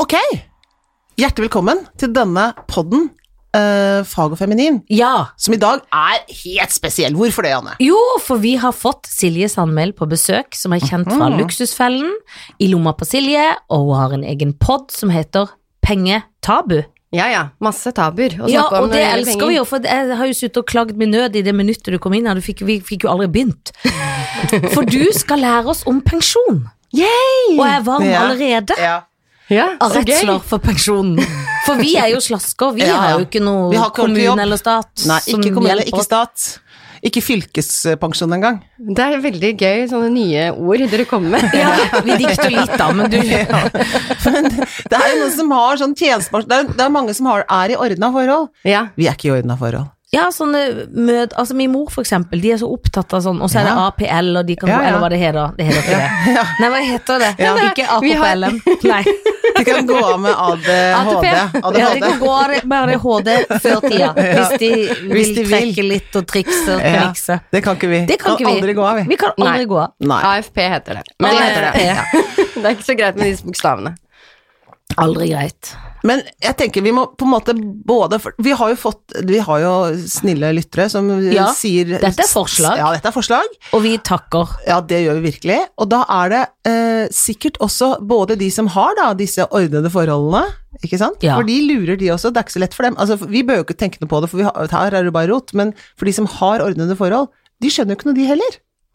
Ok! Hjertelig velkommen til denne podden eh, Fag og feminin, Ja. som i dag er helt spesiell. Hvorfor det, Anne? Jo, for vi har fått Silje Sandmæl på besøk, som er kjent fra Luksusfellen, I lomma på Silje, og hun har en egen pod som heter Pengetabu. Ja ja, masse tabuer å snakke Ja, om eh, og når det gjelder elsker penger. vi jo, for jeg har jo suttet og klagd med nød i det minuttet du kom inn her, du fikk, vi fikk jo aldri begynt. For du skal lære oss om pensjon. Og jeg er varm Ja. allerede. Ja. Ja, Av så gøy. redsler for pensjonen. For vi er jo slasker, vi Ja, ja. har jo ikke Vi noe har ikke ordentlig kommune jobb. eller stat Nei, som ikke kommune, hjelper ikke oss. stat. Ikke fylkespensjon engang. Det er veldig gøy, sånne nye ord dere kommer med. Ja, vi dikter litt da, men du Det er jo noen som har sånn tjenestepensjon det, er- det er mange som har, er i ordna forhold. Ja. Vi er ikke i ordna forhold. Ja, sånne mød, altså min mor for eksempel, de er så opptatt av sånn, og så er det Ja. APL, og de kan Ja, gå, ja. eller hva det heter, det heter ikke det. Nei, hva heter det? Ja. Ikke Vi har- APLM, nei. De kan gå av med ADHD. Ja, de kan gå med ADHD før tida, hvis de vil Hvis de vil. trekke litt og trikse og Ja. trikse. Det kan ikke vi. Det kan ikke vi. aldri gå av, vi. Vi kan aldri Nei. gå av. Nei. AFP heter det. Men Hva eh, heter det? det er ikke så greit med disse bokstavene. Aldri greit. Men jeg tenker vi må på en måte både for- Vi har jo fått Vi har jo snille lyttere som Ja, sier dette er forslag. Ja, dette er forslag. Og vi takker. Ja, det gjør vi virkelig. Og da er det eh, sikkert også både de som har da disse ordnede forholdene, ikke sant? Ja. For de lurer de også, det er ikke så lett for dem. Altså, vi bør jo ikke tenke noe på det, for vi har, her er det bare rot. Men for de som har ordnede forhold, de skjønner jo ikke noe, de heller.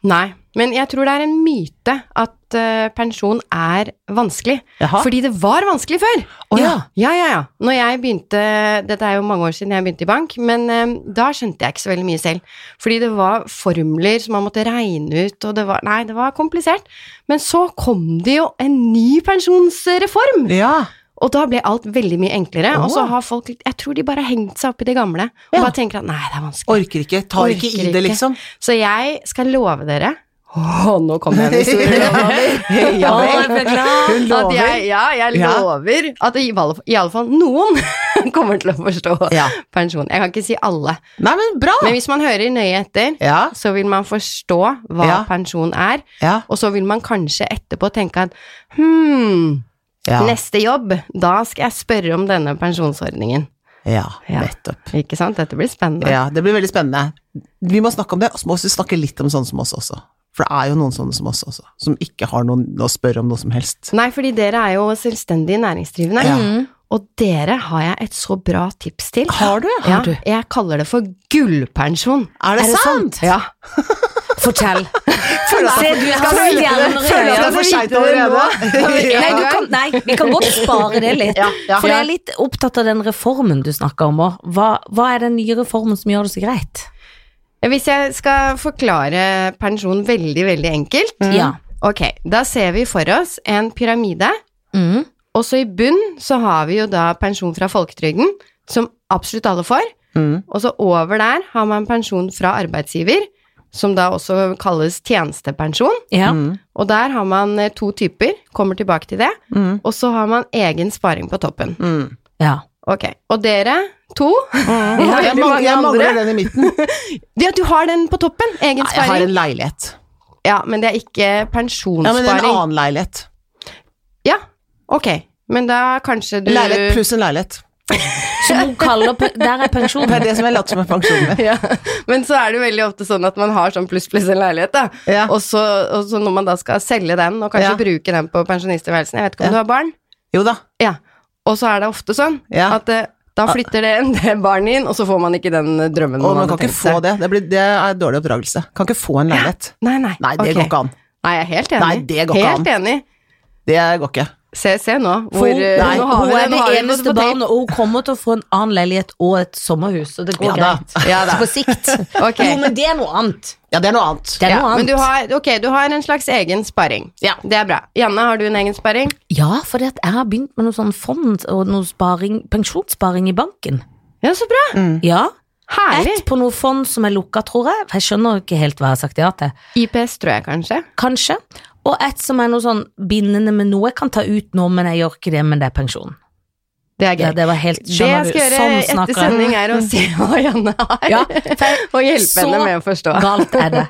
Nei. Men jeg tror det er en myte at eh, pensjon er vanskelig. Jaha. Fordi det var vanskelig før. Å ja. Ja, ja, ja. Når jeg begynte, dette er jo mange år siden jeg begynte i bank, men eh, da skjønte jeg ikke så veldig mye selv. Fordi det var formler som man måtte regne ut, og det var Nei, det var komplisert. Men så kom det jo en ny pensjonsreform! Ja. Og da ble alt veldig mye enklere. Og så Åh. har folk litt Jeg tror de bare har hengt seg opp i det gamle, og Ja. bare tenker at nei, det er vanskelig. Orker ikke, tar ikke Orker i det, ikke. liksom. Så jeg skal love dere Åh, nå kom jeg med historier. Ja, Å, vel. jeg ble glad. Hun At lover. jeg, ja, jeg Ja. lover at i alle, i alle fall noen kommer til å forstå Ja. pensjon. Jeg kan ikke si alle, Nei, men bra! men hvis man hører nøye etter, Ja, så vil man forstå hva Ja. pensjon er, ja, og så vil man kanskje etterpå tenke at hmm, ja. neste jobb, da skal jeg spørre om denne pensjonsordningen. Ja, Ja. nettopp. Ikke sant? Dette blir spennende. Ja, det blir veldig spennende. Vi må snakke om det, og så må vi snakke litt om sånne som oss også. For det er jo noen sånne som oss også, som ikke har noen å spørre om noe som helst. Nei, fordi dere er jo selvstendig næringsdrivende. Ja. Og dere har jeg et så bra tips til. Har du? Ja, Har du? jeg kaller det for gullpensjon. Er det, sant? Ja. Fortell. Føler at- Se, du har føler at det- stjerner i føler at det er øynene. for seint allerede. Ja. Nei, du kan, nei, vi kan godt spare det litt. Ja, ja. For jeg er litt opptatt av den reformen du snakker om òg. Hva, hva er den nye reformen som gjør det så greit? Hvis jeg skal forklare pensjon veldig, veldig enkelt Mm. Ja. Ok, da ser vi for oss en pyramide, Mm. og så i bunn så har vi jo da pensjon fra folketrygden, som absolutt alle får, Mm. og så over der har man pensjon fra arbeidsgiver, som da også kalles tjenestepensjon, Ja. og der har man eh, to typer, kommer tilbake til det, Mm. og så har man egen sparing på toppen. Mm. ja. Ok, og dere to, Jeg, veldig mangler, mange jeg mangler andre. den i midten. ja, du har den på toppen, egen Jeg har sparing. en leilighet. Ja, men det er ikke Ja, men en pensjonssparing. annen leilighet. Ja, ok. Men da kanskje du Leilighet pluss en leilighet. Som hun kaller pe- Der er pensjon. Det er det som jeg later som er pensjonen min. ja. Men så er det veldig ofte sånn at man har sånn pluss pluss en leilighet, da. Ja. Og, så, og så når man da skal selge den, og kanskje Ja. bruke den på pensjonisttilværelsen Jeg vet ikke om Ja. du har barn? Jo da. Ja. Og så er det ofte sånn Ja. at eh, da flytter det en del barn inn, og så får man ikke den eh, drømmen Og man man kan hadde ikke tenkt få seg. det. Det, blir, det er dårlig oppdragelse. Kan ikke få en leilighet. Nei, nei. Nei, det ok. går ikke an. Nei, jeg er helt enig. Nei, det går ikke helt enig. Det går ikke. Se, se nå. Hvor, hun, eh, Nei, nå har hun vi er nå det har vi eneste på tape. barnet, og hun kommer til å få en annen leilighet og et sommerhus, så det Ja går da. greit. Ja da. Så på sikt. Ok. Jo, men det er noe annet. Ja, det er noe annet. Det er Ja, noe men annet. du har, ok, du har en slags egen sparing. Ja. Det er bra. Janne, har du en egen sparing? Ja, for jeg har begynt med noe sånn fond og noe sparing, pensjonssparing i banken. Ja, så bra. Ja. Mm. Herlig. Ett på noe fond som er lukka, tror jeg. For jeg skjønner ikke helt hva jeg har sagt ja til. IPS tror jeg kanskje. Kanskje. Og ett som er noe sånn bindende med noe jeg kan ta ut nå, men jeg gjør ikke det, men det er pensjon. Det er gøy. Ja, det var helt Det jeg skjønner skal du, gjøre Sånn etter snakker sending, er å se hva Janne har, Ja, for og hjelpe Så- henne med å forstå. galt er det.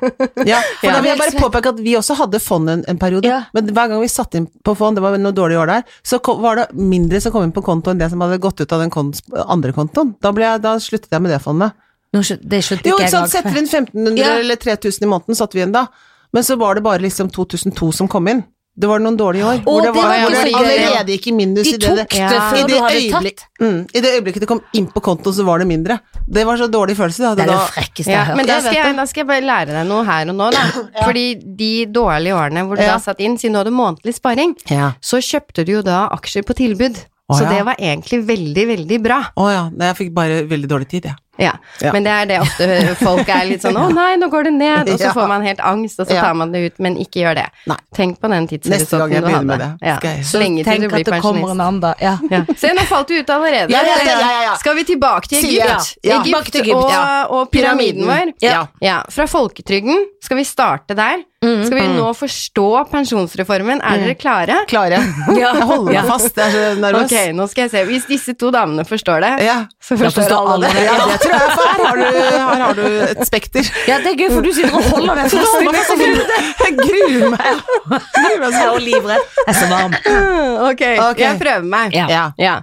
Ja, for Ja. da vil jeg bare påpeke at vi også hadde fond en, en periode, Ja. men hver gang vi satt inn på fond, det var noen dårlige år der, så ko- var det mindre som kom inn på konto enn det som hadde gått ut av den kont andre kontoen. Da, ble jeg, da sluttet jeg med det fondet. Nå skjø- Det skjønte Jo, ikke ikke jeg sant, galt setter for. vi inn 1500 Ja. eller 3000 i måneden, satt vi inn da, men så var det bare liksom 2002 som kom inn. Det var noen dårlige år, hvor Å, det det var, var hvor det ikke så gøy. allerede gikk i minus De i det, tok det, det Ja. i før du det hadde øyeblikk- tatt. mm, I det øyeblikket det kom inn på kontoen, så var det mindre. Det var så dårlig følelse. jeg hadde Det er det da- frekkeste jeg Ja, har hørt. men da Jeg vet skal, jeg, da skal jeg bare lære deg noe her og nå, da. Fordi de dårlige årene hvor du Ja. da satt inn, siden du hadde månedlig sparing, Ja. så kjøpte du jo da aksjer på tilbud. Å, så ja. det var egentlig veldig, veldig bra. Å ja, nei, jeg fikk bare veldig dårlig tid, jeg. Ja. Ja. Men det er det ofte folk er litt sånn 'Å nei, nå går det ned', og så Ja. får man helt angst, og så Ja. tar man det ut, men ikke gjør det. Nei. Tenk på den Neste gang tidshorisonten jeg du begynner hadde. med det, skal jeg. Så lenge til du Tenk blir at det kommer en pensjonist. annen, da. Ja. Ja. Se, nå falt du ut allerede. Ja, ja, ja, ja, ja. Skal vi tilbake til Silje, Egypt? ja. Egypt, Tilbake til Egypt, og, ja. og pyramiden vår. Ja. Mm. Ja, fra folketrygden skal vi starte der. Skal vi nå forstå pensjonsreformen? Er dere klare? Klare. Ja. Jeg holder meg Ja. fast, jeg er så nervøs. Ok, nå skal jeg se. Hvis disse to damene forstår det, Ja. så Da forstår forstår alle alle det. det. ja, det tror jeg, for her har du, her har du et spekter. Ja, det er gøy, for du sitter og holder deg Så fast i holder meg så det. Jeg gruer meg. Gruer meg Jeg er sånn. jo livredd. Jeg er så varm. Ok, Ok. jeg prøver meg. Ja. Ja. Ja.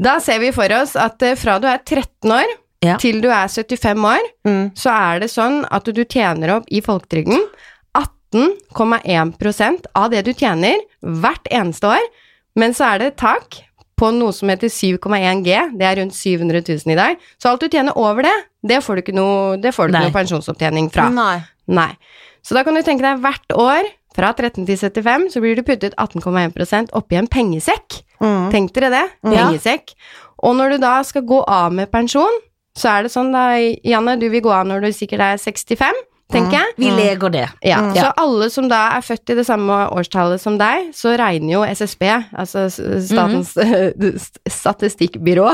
Da ser vi for oss at eh, fra du er 13 år Ja. til du er 75 år, Mm. så er det sånn at du tjener opp i folketrygden 18,1 av det du tjener hvert eneste år, men så er det et tak på noe som heter 7,1 G, det er rundt 700 000 i dag, så alt du tjener over det, det får du ikke noe, det får du ikke Nei. noe pensjonsopptjening fra. Nei. Nei. Så da kan du tenke deg hvert år, fra 13 til 75, så blir du puttet 18,1 oppi en pengesekk. Mm. Tenk dere det, Ja. pengesekk. Og når du da skal gå av med pensjon, så er det sånn da, Janne, du vil gå av når du sikkert er 65, tenker jeg. Vi leger det. Ja, Mm. Så alle som da er født i det samme årstallet som deg, så regner jo SSB, altså s- Statens st- statistikkbyrå,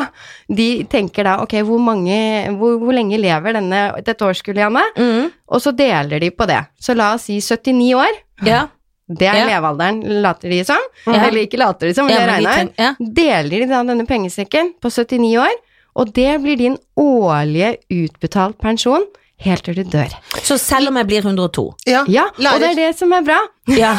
de tenker da ok, hvor mange, hvor, hvor lenge lever denne, dette årskullet, Janne? Mm. Og så deler de på det. Så la oss si 79 år. Ja. Det er Ja. levealderen, later de som. Ja. Eller ikke later de som, men Ja, det men vi regner. trenger- ja. Deler de da denne pengesekken på 79 år, og det blir din årlige utbetalt pensjon helt til du dør. Så selv om jeg blir 102 Ja. Ja, og det er det som er bra. Ja,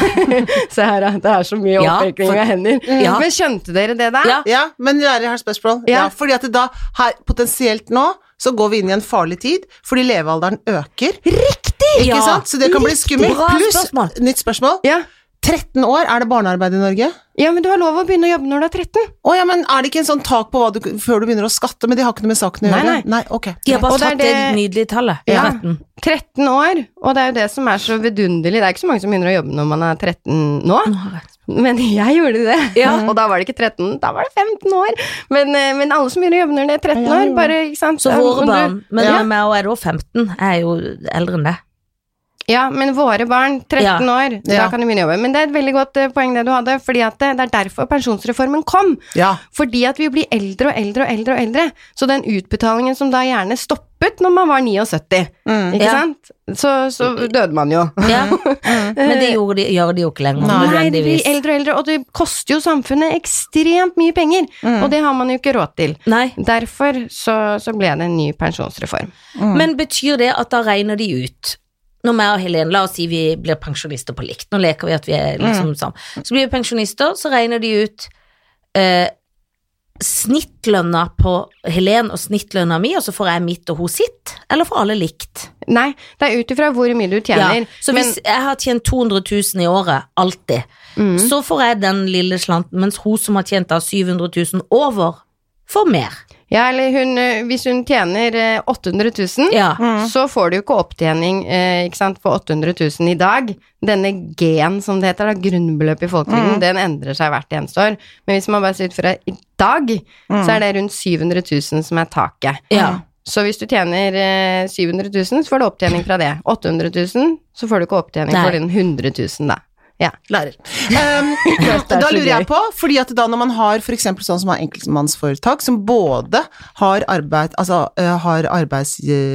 Se her, da. Det er så mye Ja, opprekning for- Mm. av hender. Ja. Men skjønte dere det der? Ja. Ja, men lærer har spørsmål. Ja. Ja. fordi at det da, her, potensielt nå, så går vi inn i en farlig tid, fordi levealderen øker. Riktig! Ikke sant? Så det kan bli skummelt. Bra Pluss, spørsmål. nytt spørsmål, Ja. 13 år, er det barnearbeid i Norge? ja, men du har lov å begynne å jobbe når du er 13. Å ja, men er det ikke en sånn tak på hva du, før du begynner å skatte, men det har ikke noe med saken å Nei, gjøre? nei. ok. De har bare Og det er tatt det, det- nydelige tallet. Ja. 13. 13 år, og det er jo det som er så vidunderlig. Det er ikke så mange som begynner å jobbe når man er 13 nå. Men jeg gjorde det, Ja. og da var det ikke 13, da var det 15 år. Men, eh, men alle som begynner å jobbe når de er 13 år, bare, ikke sant. Så Om våre du- barn Men Ja. meg og jeg er da 15. Jeg er jo eldre enn det. Ja, men våre barn, 13 Ja. år, da Ja. kan de begynne å jobbe. Men det er et veldig godt eh, poeng det du hadde, fordi at eh, det er derfor pensjonsreformen kom. Ja. Fordi at vi blir eldre og eldre og eldre og eldre. Så den utbetalingen som da gjerne stoppet når man var 79, Mm. ikke Ja. sant, så, så døde man jo. Ja. Men det gjorde de, gjør de jo ikke lenger. Nei, Nei, det blir nødvendigvis. eldre og eldre, og det koster jo samfunnet ekstremt mye penger. Mm. Og det har man jo ikke råd til. Nei. Derfor så, så ble det en ny pensjonsreform. Men betyr det at da regner de ut Når meg og Helene, la oss si vi blir pensjonister på likt Nå leker vi at vi er Mm. liksom sammen Så blir vi pensjonister, så regner de ut eh, Snittlønna på Helene og snittlønna mi Og så får jeg mitt og hun sitt Eller får alle likt Nei, det er ut ifra hvor mye du tjener. Ja, så hvis jeg har tjent 200 000 i året, alltid, så får jeg den lille slanten, mens hun som har tjent da 700 000 over, får mer. men, ja, eller hun, eh, hvis hun tjener eh, 800 000, Ja. Mm. så får du jo ikke opptjening eh, ikke sant, på 800 000 i dag. Denne G-en, som det heter, da, grunnbeløpet i Mm. folketrygden, den endrer seg hvert eneste år. Men hvis man bare ser ut fra i dag, så Mm. er det rundt 700 000 som er taket. Ja. Så hvis du tjener eh, 700 000, så får du opptjening fra det. 800 000, så får du ikke opptjening Nei. for den 100 000, da. Ja. Lærer. Um, er da så lurer jeg gøy. på, fordi at da når man har f.eks. sånn som har enkeltmannsforetak, som både har, arbeid, altså, eh, har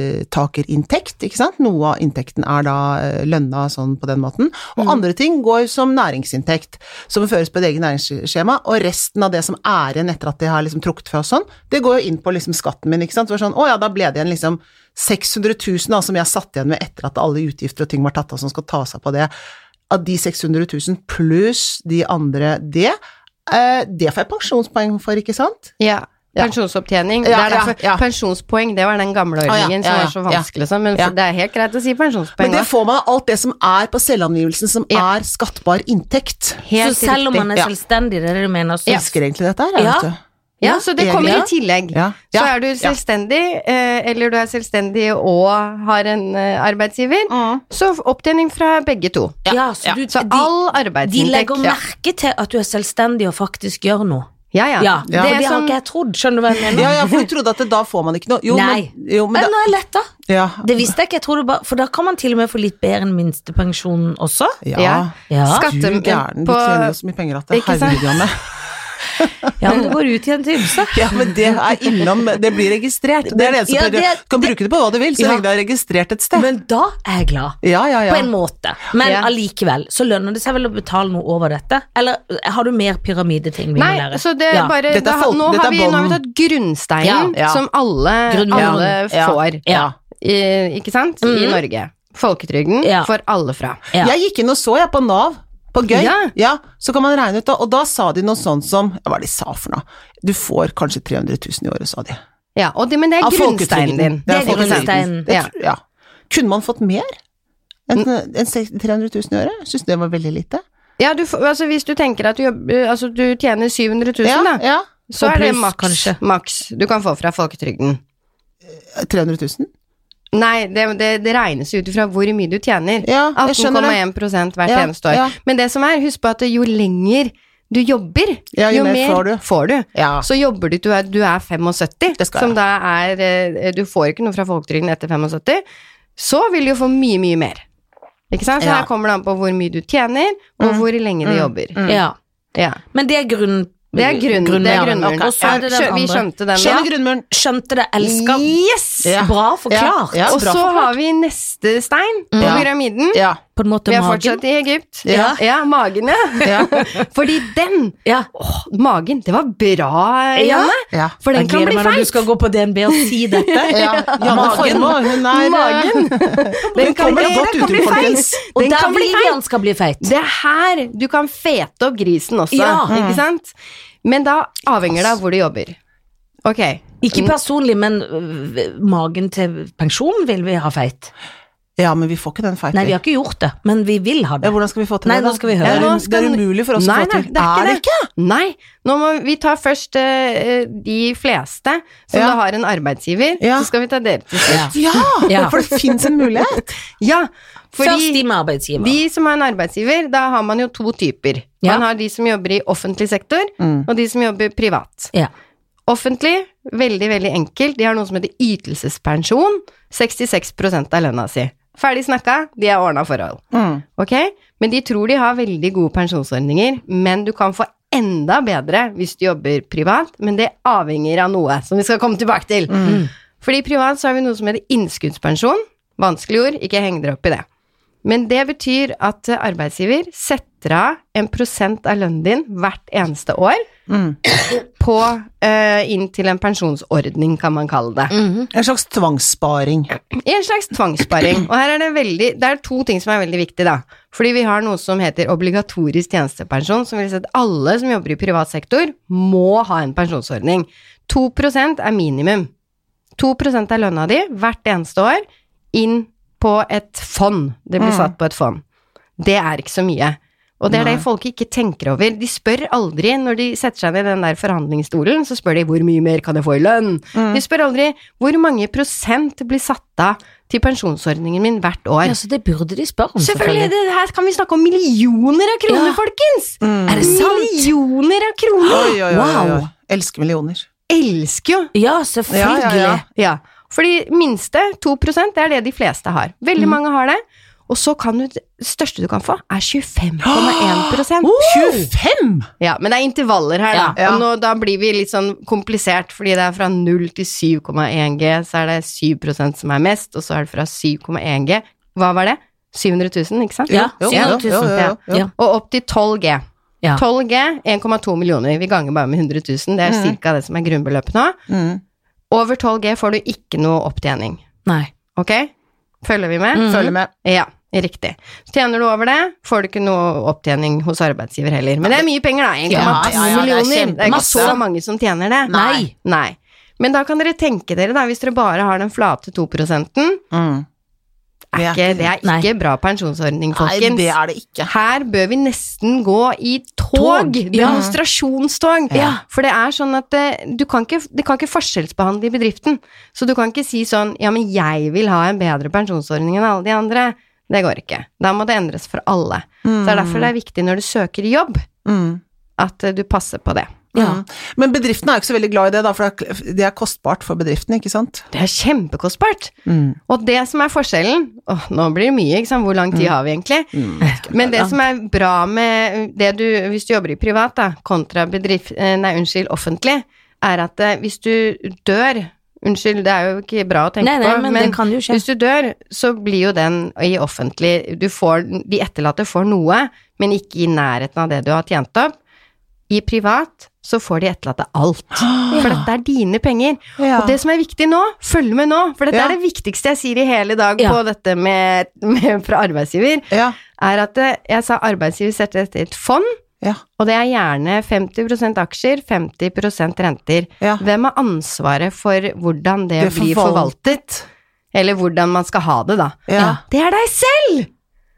arbeidstakerinntekt, ikke sant, noe av inntekten er da eh, lønna sånn på den måten, og Mm. andre ting går som næringsinntekt, som føres på et eget næringsskjema, og resten av det som er igjen etter at de har liksom trukket fra og sånn, det går jo inn på liksom skatten min, ikke sant, så det er sånn, å ja, da ble det igjen liksom 600 000 da, som jeg satt igjen med etter at alle utgifter og ting var tatt av, som skal ta seg på det av de 600 000 pluss de andre det, eh, det får jeg pensjonspoeng for, ikke sant? Ja. Pensjonsopptjening. Ja, det er ja, derfor, ja. Pensjonspoeng, det var den gamle ja, ordningen ja, ja, som var så ja. vanskelig, sånn, men Ja. for, det er helt greit å si Men pensjonspoeng. det da. får man av alt det som er på selvangivelsen som Ja. er skattbar inntekt. Så Helt selv om riktig. man er Ja. selvstendig, det er det du mener, så Jeg elsker egentlig dette her, jeg, Ja. vet du. Ja, så det kommer i egentlig. tillegg. Ja. Så Ja. er du selvstendig, eh, eller du er selvstendig og har en eh, arbeidsgiver, Mm. så opptjening fra begge to. Ja, så du, Så de, all de arbeidsinntekt. legger ja. merke til at du er selvstendig og faktisk gjør noe. Ja, ja. Ja, Ja. for Det sånn- det har ikke som- jeg trodd, skjønner du hva jeg mener? Ja, ja, for du trodde at det, da får man ikke noe. Jo, Nei. men, jo, men Men da, nå er jeg letta. ja. Det visste jeg ikke, jeg tror det bare, for da kan man til og med få litt bedre enn minstepensjonen også. Ja. Ja. Ja. Du gæren, Skatte du på tjener jo så mye penger at det Ikke sant? herregud, Janne. Ja, men det går ut igjen til ymse. Ja, men det er innom, det blir registrert. Det er det eneste Ja, problemet. Du det- kan bruke det på hva du vil, så Ja. lenge det er registrert et sted. Men da er jeg glad. Ja, ja, ja. På en måte. Men Ja. allikevel så lønner det seg vel å betale noe over dette? Eller eh, har du mer pyramideting vi må Nei, lære? så det er Ja. bare Dette er da, folk- nå, dette er har vi, nå har vi bånd. tatt grunnsteinen Ja, ja. som alle, Grunnmuren. alle Ja. Mm. får, Ja. I, ikke sant, i Norge. Folketrygden Ja. får alle fra. Ja. Jeg gikk inn og så jeg på Nav, på Gøy, ja. Ja. så kan man regne ut da, og da sa de noe sånn som, hva var det de sa for noe, du får kanskje 300 000 i året, sa de. Ja, og det, men det er Av grunnsteinen folketrygden. din. Det er Av folketrygden. grunnsteinen. Det Ja. tr- Ja. Kunne man fått mer enn enn 300 000 i året? Synes det var veldig lite. Ja, du, får- altså, hvis du tenker at du, jobber, altså, du tjener 700 000, Ja, da, ja. så Og er det pluss, maks, kanskje. maks du kan få fra folketrygden. 300 000? Nei, det, det, det regnes ut ifra hvor mye du tjener. Ja, jeg skjønner det. 18,1 hvert Ja, eneste år. ja. Men det som er, husk på at jo lenger du jobber, Ja, jo, mer får du. Ja. Så jobber du til du er, du er 75, Det skal som jeg. da er eh, Du får ikke noe fra folketrygden etter 75. Så vil du jo få mye, mye mer. Ikke sant? Så Ja. Mm. her kommer det an på hvor mye du tjener, og hvor lenge du jobber. ja. Ja. Men det er grunn... Mm. Det er grunn- det er grunnmuren. grunnmuren. Og så er det Ja, skjø- den vi andre. skjønte den, Skjønner ja. grunn- Grunnmuren. Skjønte det, elsker. Yes! Ja. Bra forklart. Ja, og bra så forklart. har vi neste stein på Ja. pyramiden. Ja. På en måte Vi er magen. fortsatt i Egypt. Ja. ja magen, ja. Ja. Fordi den Ja. Åh, magen, det var bra, Janne. Ja. For den Jeg kan gleder bli meg når du feit. skal gå på DNB og si dette. ja. Janne Formoe, hun er eh, Magen. Den kan kommer bli- godt den ut, kan bli folkens. feit. Og Den der kan bli vil vi feit. han skal bli feit. Det er her du kan fete opp grisen også, Ja. ikke sant? Men da avhenger det av hvor du jobber. Ok. Ikke personlig, men øh, magen til pensjonen vil vi ha feit. Ja, men vi får ikke den feiten. Nei, vi har ikke gjort det, men vi vil ha Ja, det. hvordan skal vi få til Nei, det? da? nå skal vi høre. Det er, Ja, nå det er skal- umulig for oss Nei, å få nei, til. det er ikke det. ikke? Nei, nå må vi ta først eh, de fleste som Ja. da har en arbeidsgiver, Ja. så skal vi ta dere til slutt. Ja. Ja, Ja. for det fins en mulighet. Ja, Først de fordi med arbeidsgiver. de som har en arbeidsgiver, da har man jo to typer. Ja. Man har de som jobber i offentlig sektor, Mm. og de som jobber privat. Ja. Offentlig, veldig, veldig enkelt. De har noe som heter ytelsespensjon. 66 av lønna si. Ferdig snakka, de er ordna forhold. Ok? Men de tror de har veldig gode pensjonsordninger, men du kan få enda bedre hvis du jobber privat, men det avhenger av noe som vi skal komme tilbake til. Fordi privat så har vi noe som heter innskuddspensjon. Vanskelig ord, ikke heng dere opp i det. Men det betyr at eh, arbeidsgiver setter av en prosent av lønnen din hvert eneste år Mm. på eh, inn til en pensjonsordning, kan man kalle det. En slags tvangssparing. En slags tvangssparing. Og her er det veldig Det er to ting som er veldig viktig, da. Fordi vi har noe som heter obligatorisk tjenestepensjon, som vil si at alle som jobber i privat sektor, må ha en pensjonsordning. 2 er minimum. 2 av lønna di hvert eneste år inn på et fond. Det blir satt på et fond. Det er ikke så mye. Og det er det folk ikke tenker over. De spør aldri, når de setter seg ned i den der forhandlingsstolen, så spør de 'hvor mye mer kan jeg få i lønn'? Mm. Mm. De spør aldri 'hvor mange prosent blir satt av til pensjonsordningen min hvert år'? Ja, sånn, så det burde de spørre om, Selvfølgelig! Det her kan vi snakke om millioner av Ja. kroner, folkens! Er det sant? Millioner av Mm. kroner! Oi, oi, oi, oi. Wow. oi. Elsker millioner. Elsker jo Ja, selvfølgelig. Ja, ja, ja. Mm. Ja, fordi minste 2 det er det de fleste har. Veldig mange har det. Og så kan du Det største du kan få, er 25,1 25! Ja, men det er intervaller her, da. Ja. Og nå, da blir vi litt sånn komplisert, fordi det er fra 0 til 7,1 G, så er det 7 som er mest, og så er det fra 7,1 G Hva var det? 700 000, ikke sant? Ja, Jo, jo, 700 000. jo, jo, jo, jo. Ja. Og opp til 12 G. Ja. 12 G, 1,2 millioner. Vi ganger bare med 100 000, det er Mhm. cirka det som er grunnbeløpet nå. Mm. Over 12 G får du ikke noe opptjening, Nei. ok? Følger vi med? Mm. Følger med. Ja, riktig. Tjener du over det, får du ikke noe opptjening hos arbeidsgiver heller. Men det er mye penger, da. 1,2 Ja, ja, ja, det er millioner. Det er ikke kjempemasse. så mange som tjener det. Nei. Nei. Men da kan dere tenke dere, da, hvis dere bare har den flate 2 Det Mm. er ikke, det er Nei. ikke bra pensjonsordning, Nei, folkens. det er det ikke. Her bør vi nesten gå i tog, Tog, ja. demonstrasjonstog. Ja. For det er sånn at eh, du kan ikke, det kan ikke forskjellsbehandle i bedriften. Så du kan ikke si sånn ja, men jeg vil ha en bedre pensjonsordning enn alle de andre. Det går ikke. Da må det endres for alle. Så det er derfor det er viktig når du søker jobb, Mm. at eh, du passer på det. Ja. Mm. Men bedriften er jo ikke så veldig glad i det, da, for det er- det er kostbart for bedriften, ikke sant? Det er kjempekostbart. Mm. Og det som er forskjellen Åh, nå blir det mye, ikke sant. Hvor lang Mm. tid har vi egentlig? Mm. Men det som er bra med det du, hvis du jobber i privat da, kontra bedrift, eh, nei, unnskyld, offentlig, er at eh, hvis du dør, unnskyld, det er jo ikke bra å tenke Nei, nei, på, men, det kan jo skje. hvis du dør, så blir jo den i offentlig, du får, de etterlatte får noe, men ikke i nærheten av det du har tjent opp. I privat så får de etterlatte alt, Ah. for dette er dine penger. Ja. Og det som er viktig nå, følg med nå, for dette Ja. er det viktigste jeg sier i hele dag Ja. på dette med, med fra arbeidsgiver, Ja, er at eh, jeg sa arbeidsgiver setter dette i et fond, ja, og det er gjerne 50 aksjer, 50 renter. ja. Hvem har ansvaret for hvordan Det det, blir forvaltet? Eller hvordan man skal ha det, da. ja. Det er deg selv!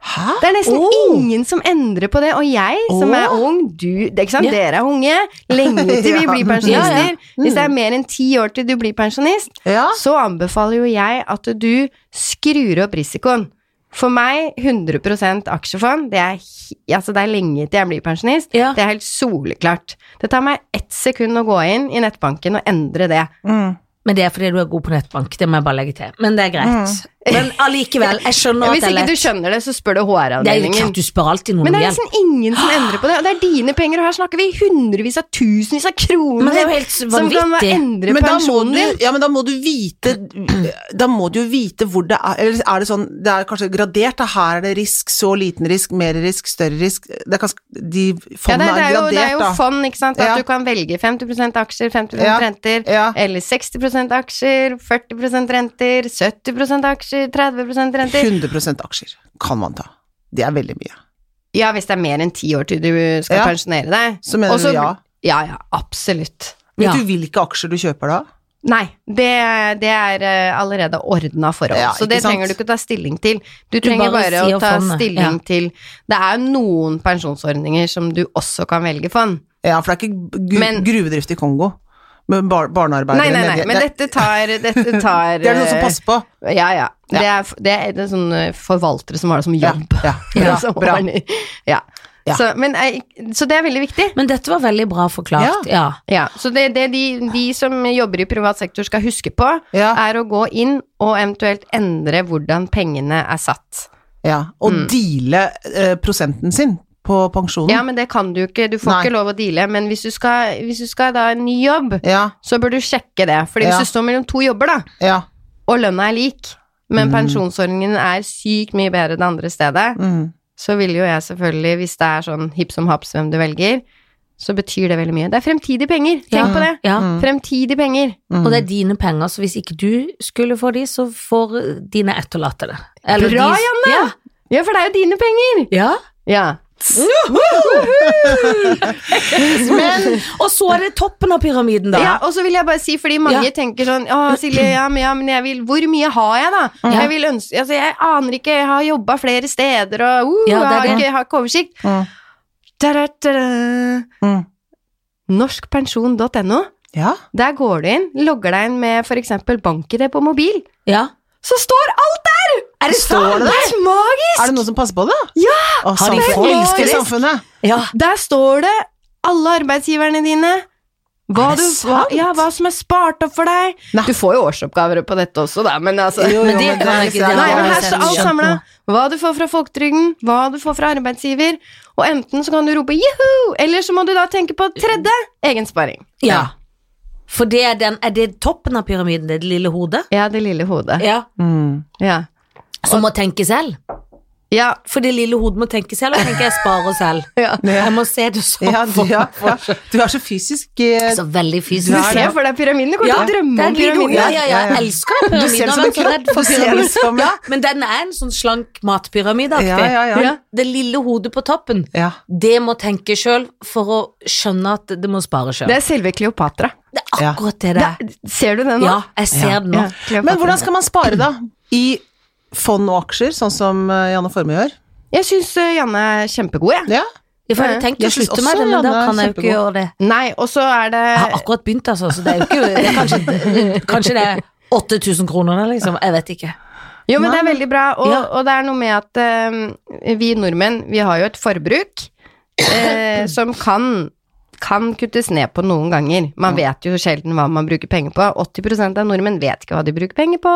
Hæ? Det er nesten Åh. ingen som endrer på det. Og jeg, som er Åh. ung, du det, er ikke sant? Ja. Dere er unge, lenge til vi Ja. blir pensjonister. Ja, Hvis det er mer enn ti år til du blir pensjonist, Ja, Ah. så anbefaler jo jeg at du skrur opp risikoen. For meg, 100 aksjefond, det er, hi- altså det er lenge til jeg blir pensjonist. Ja. Det er helt soleklart. Det tar meg ett sekund å gå inn i nettbanken og endre det. mm. Men det er fordi du er god på nettbank, det må jeg bare legge til. Men det er greit. Men allikevel, jeg skjønner at Hvis det er Mm. ikke du lett. skjønner det, så spør Det er du jo klart HR-avdelingen. du spør alltid noen Men om det er liksom- hjelp. nesten ingen Ah. som endrer på det, og det er dine penger, og her snakker vi hundrevis av tusenvis av kroner Men det er jo helt som kan vanvittig. endre Men da må du, pensjonen din. ja, men da må du vite Da må du jo vite hvor det er Eller er det sånn Det er kanskje gradert, da. Her er det risk, så liten risk, mer risk, større risk Det er kanskje De Ja, det, fondene det, er er, jo, det er jo gradert, da. fond, ikke sant, at Ja. du kan velge 50 aksjer, 50 Ja. renter, Ja. eller 60 aksjer, 40 renter, 70 aksjer, 30 renter. 100 aksjer kan man ta. Det er veldig mye. Ja, hvis det er mer enn ti år til du skal Ja. pensjonere deg. Så mener Og så- du ja. Ja, ja, absolutt. Vet Ja. du hvilke aksjer du kjøper da? Nei, det, det er eh, allerede ordna forhold, Ja, så ikke det sant? trenger du ikke ta stilling til. Du, trenger bare bare, sier å ta fondet, stilling ja. til Det er noen pensjonsordninger som du også kan velge fond. Ja, for det er ikke gru Men- gruvedrift i Kongo. Med bar barnearbeidere Nei, nei, nei, nedi- men det, dette tar, dette tar det er det noen som eh, passer på. Ja, ja. Det er, f- det er, det er sånne forvaltere som har det som Ja, jobb. ja, bra, Som bra. ordner. ja. Ja. Så, men, jeg- så det er veldig viktig. Men dette var veldig bra forklart. Ja. Ja, så det, det de, de som jobber i privat sektor skal huske på, Ja. er å gå inn og eventuelt endre hvordan pengene er satt. Ja, og Mm. deale eh, prosenten sin på pensjonen. Ja, men det kan du ikke, du får Nei. ikke lov å deale, men hvis du skal, hvis du skal da ha en ny jobb, ja, så bør du sjekke det, fordi Ja. hvis du står mellom to jobber da, ja. og lønna er lik, men pensjonsordningen er sykt mye bedre det andre stedet, Mm. så vil jo jeg selvfølgelig, hvis det er sånn hipp som haps hvem du velger, så betyr det veldig mye. Det er fremtidige penger, tenk Ja. på det. Ja. Fremtidige penger. Mm. Og det er dine penger, så hvis ikke du skulle få de, så får dine etterlatte det. Eller Bra, de- Janne! Ja, for det er jo dine penger. Ja. Ja. Men, og så er det toppen av pyramiden, da. ja, og så vil jeg bare si, fordi mange Ja. tenker sånn, å Silje, ja, men, ja, men jeg vil, hvor mye har jeg da? Jeg vil ønske, altså jeg aner ikke, jeg har jobbet flere steder, og uh, Ja, det er jeg har det. ikke, jeg har ikke oversikt. Mm. Da-da-da-da. Mm. Norskpensjon.no, Ja. der går du inn, logger deg inn med for eksempel bank-ID på mobil, Ja. så står alt der! Er det Står sant? det der? Det er helt magisk! Er det noen som passer på det? Ja! Å, Har de samfunnet fått- elsker Elsker samfunnet! ja. Der står det alle arbeidsgiverne dine, Hva, Er det du, hva, sant? ja, hva som er spart opp for deg. Nei. Du får jo årsoppgaver på dette også, da, men altså men det kan sånn- jeg ikke- Nei, men Ja, her det står er alt skjønt samla. nå. Hva du får fra folketrygden, hva du får fra arbeidsgiver. Og enten så kan du rope juhu, eller så må du da tenke på tredje egensparing. Ja. For det er, den, er det toppen av pyramiden, det lille hodet? Ja, det lille hodet. Ja. Mm. Ja. Som må tenke selv. ja. For det lille hodet må tenke selv, og tenker jeg sparer selv. Ja. Jeg må se det sånn. Ja, du, ja, ja. du er så fysisk eh, Så veldig Du fysisk. Ja, det ser for deg pyramiden. Du kommer til å drømme om den lille hodet. pyramiden. Ja, ja, ja, Ja, ja. jeg elsker den Du ser det pyramiden. Jeg som en har vært så kropp. redd Du for ser det pyramiden. som- Ja, men den er en sånn slank matpyramide-aktig. Ja, ja, ja. Ja. Det lille hodet på toppen, ja. det må tenke sjøl for å skjønne at det må spare sjøl. Det er selve Kleopatra. Det er akkurat det det er. Det- Ser du den nå? Ja, jeg ser det nå. Ja, Kleopatra. Men hvordan skal man spare, da? I fond og aksjer, sånn som eh, Janne Formoe gjør? Jeg syns Janne er kjempegod, jeg. Ja. Jeg hadde tenkt å Jeg synes slutte med også det, men Janne da er kan jeg jo ikke kjempegod. gjøre det. Nei, og så er det Jeg har akkurat begynt, altså, så det er jo ikke det er kanskje, kanskje det er 8000 kroner, da, liksom. Jeg vet ikke. Jo, men det er veldig bra, og, Ja. og det er noe med at eh, vi nordmenn, vi har jo et forbruk eh, som kan, kan kuttes ned på noen ganger. Man vet jo sjelden hva man bruker penger på. 80 av nordmenn vet ikke hva de bruker penger på.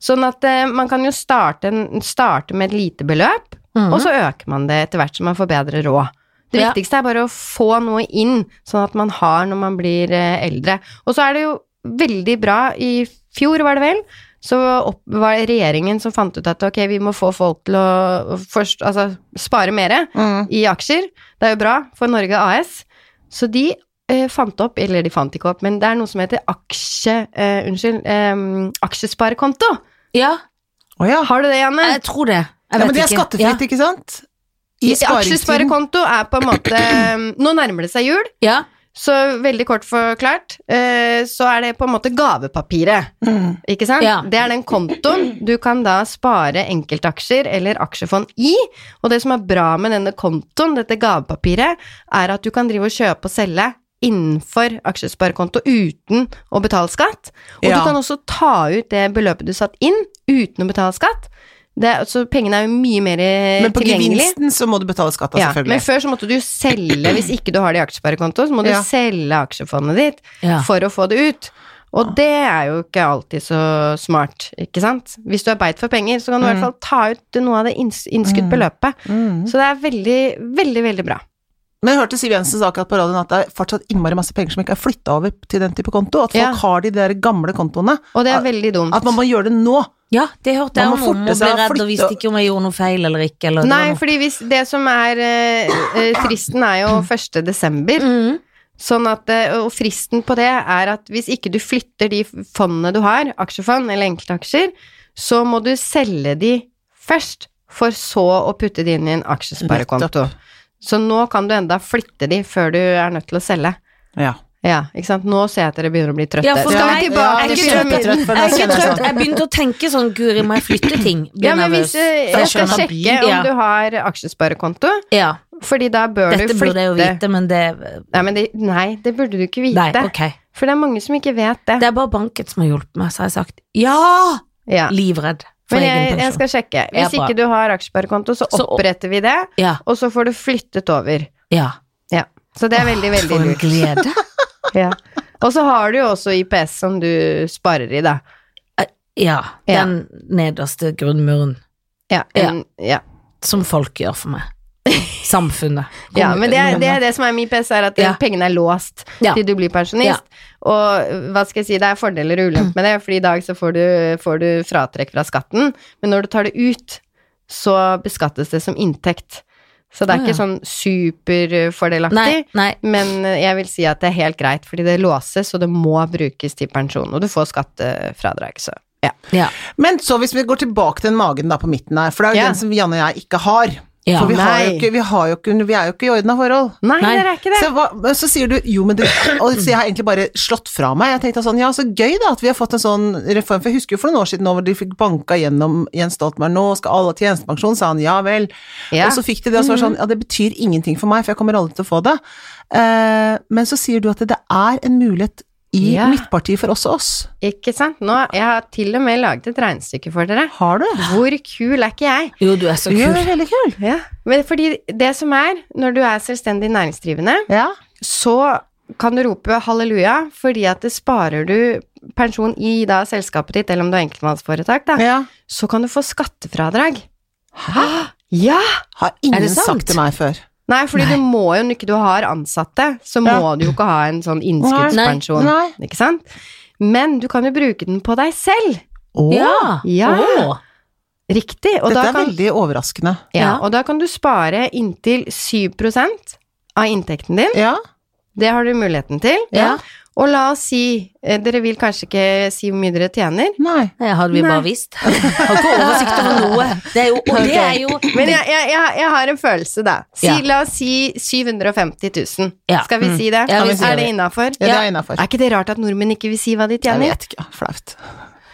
Sånn at eh, man kan jo starte, en, starte med et lite beløp, Mhm. og så øker man det etter hvert som man får bedre råd. Det Ja. viktigste er bare å få noe inn, sånn at man har når man blir eh, eldre. Og så er det jo veldig bra, i fjor var det vel, så opp, var det regjeringen som fant ut at ok, vi må få folk til å først, altså, spare mer Mhm. i aksjer. Det er jo bra for Norge AS. Så de eh, fant opp, eller de fant ikke opp, men det er noe som heter aksje, eh, unnskyld, eh, aksjesparekonto. Ja, Å ja. Har du det, Janne? jeg tror det. Jeg ja. vet Men det er ikke. skattefritt, ikke sant? I sparingstiden. Aksjesparekonto er på en måte Nå nærmer det seg jul, Ja. så veldig kort forklart, eh, så er det på en måte gavepapiret. Mm. Ikke sant? Ja. Det er den kontoen du kan da spare enkeltaksjer eller aksjefond i. Og det som er bra med denne kontoen, dette gavepapiret, er at du kan drive og kjøpe og selge innenfor aksjesparekonto uten å betale skatt. Og Ja. du kan også ta ut det beløpet du satt inn uten å betale skatt. Det, er- så pengene er jo mye mer eh, Men på tilgjengelig. gevinsten så må du betale skatt, da, Ja, men selvfølgelig. før så måtte du jo selge, hvis ikke du har det i aksjesparekonto, så må du Ja. selge aksjefondet ditt Ja. for å få det ut. Ah. Og det er jo ikke alltid så smart, ikke sant? Hvis du er beit for penger, så kan du i hvert fall ta ut noe av det inns innskutt beløpet. Mm. Så det er veldig, veldig, veldig bra. Men jeg hørte Siv Jensen sa akkurat på radioen at det er fortsatt innmari masse penger som ikke er flytta over til den type konto. At folk Ja. har de der gamle kontoene. Og det At- er veldig dumt. Ah, At man må gjøre det nå. Ja, det hørte jeg Man om. må Noen forte må seg bli å redd flytte. og visste ikke om jeg gjorde noe feil eller ikke. Eller det Nei, var noe. fordi hvis, det som er eh, eh, fristen er jo 1. desember. Mhm. Sånn at, eh, og fristen på det er at hvis ikke du flytter de fondene du har, aksjefond eller enkeltaksjer, så må du selge de først, for så å putte de inn i en aksjesparekonto. Nettopp. Så nå kan du enda flytte de før du er nødt til å selge. Ja. Ja, ikke sant? Nå ser jeg at dere begynner å bli trøtte. Ja, for Skal meg- vi tilbake ja, jeg er til ikke pyramiden? trøtt, trøtt, for Jeg da er ikke kjenner jeg trøtt. sånn. Jeg begynte å tenke sånn Guri, må jeg flytte ting? Blir Ja, men nervøs. hvis, For eh, jeg jeg skal skjønner. sjekke om Ja. du har aksjesparekonto, Ja. fordi da bør Dette du burde jeg jo flytte vite, men det Nei, men det, nei, det burde du ikke vite. Nei, ok. For det er mange som ikke vet det. Det er bare banken som har hjulpet meg, så har jeg sagt ja! ja. Livredd for Men jeg, egen jeg pensjon. skal sjekke. Ja, Hvis bra. ikke du har aksjesparekonto, så Så- oppretter vi det, Ja, og så får du flyttet over. ja. Ja. Så det er veldig, veldig For en lurt. glede. Ja. Og så har du jo også IPS som du sparer i, da. Ja. Ja. Den nederste grunnmuren Ja, en, ja. som folk gjør for meg. Samfunnet. ja men det er, det er det som er med IPS, er at Ja. pengene er låst Ja. til du blir pensjonist. Og hva skal jeg si, det er fordeler og ulemper med det, for i dag så får du, får du fratrekk fra skatten, men når du tar det ut, så beskattes det som inntekt. Så det er Å, ikke ja. sånn superfordelaktig. Nei, nei. Men jeg vil si at det er helt greit, fordi det låses, og det må brukes til pensjon. Og du får skattefradrag, så ja. Ja. Men så hvis vi går tilbake til den magen da på midten her, for det er jo Ja. den som Janne og jeg ikke har. Ja. for vi, har jo Nei. ikke, vi, har jo ikke, vi er jo ikke i ordna forhold. Nei, Nei. dere er ikke det. Så, hva, men så sier du jo, men du Og så jeg har egentlig bare slått fra meg. Jeg tenkte sånn, ja, så gøy da at vi har fått en sånn reform. For jeg husker jo for noen år siden nå hvor de fikk banka gjennom Jens Stoltenberg, nå skal alle ha tjenestepensjon, sa han ja vel. Ja. Og så fikk de det, og så var det sånn, ja det betyr ingenting for meg, for jeg kommer aldri til å få det. Eh, men så sier du at det er en mulighet i Ja. Midtpartiet for også oss. Ikke sant? Nå, jeg har til og med laget et regnestykke for dere. Har du? Hvor kul er ikke jeg? Jo, du er så Du gjør kul. det veldig kul. Men fordi det som er, når du er selvstendig næringsdrivende, Ja. så kan du rope halleluja, fordi at det sparer du pensjon i da selskapet ditt, eller om du er enkeltmannsforetak, da, Ja. så kan du få skattefradrag. Hæ? Ja! Har ingen det sant? sagt til meg før. Nei, fordi du må jo, når ikke du har ansatte, så Ja. må du jo ikke ha en sånn innskuddspensjon. Nei. Ikke sant? Men du kan jo bruke den på deg selv. Å, Ja. Ja. Åh. Riktig. Og, Dette da er kan, veldig overraskende. ja, Ja. og da kan du spare inntil 7 av inntekten din. Ja. Det har du muligheten til. Ja. Og la oss si eh, Dere vil kanskje ikke si hvor mye dere tjener. Nei. Det hadde vi Nei. bare visst. Har ikke oversikt over noe. Det er jo, og det er jo Men jeg, jeg, jeg, jeg har en følelse, da. Si, Ja. La oss si 750 000. Ja. Skal vi si det? Ja, vi sier er det det. innafor? Ja, det er innafor. Er ikke det rart at nordmenn ikke vil si hva de Jeg tjener? vet ikke. Ah, Flaut.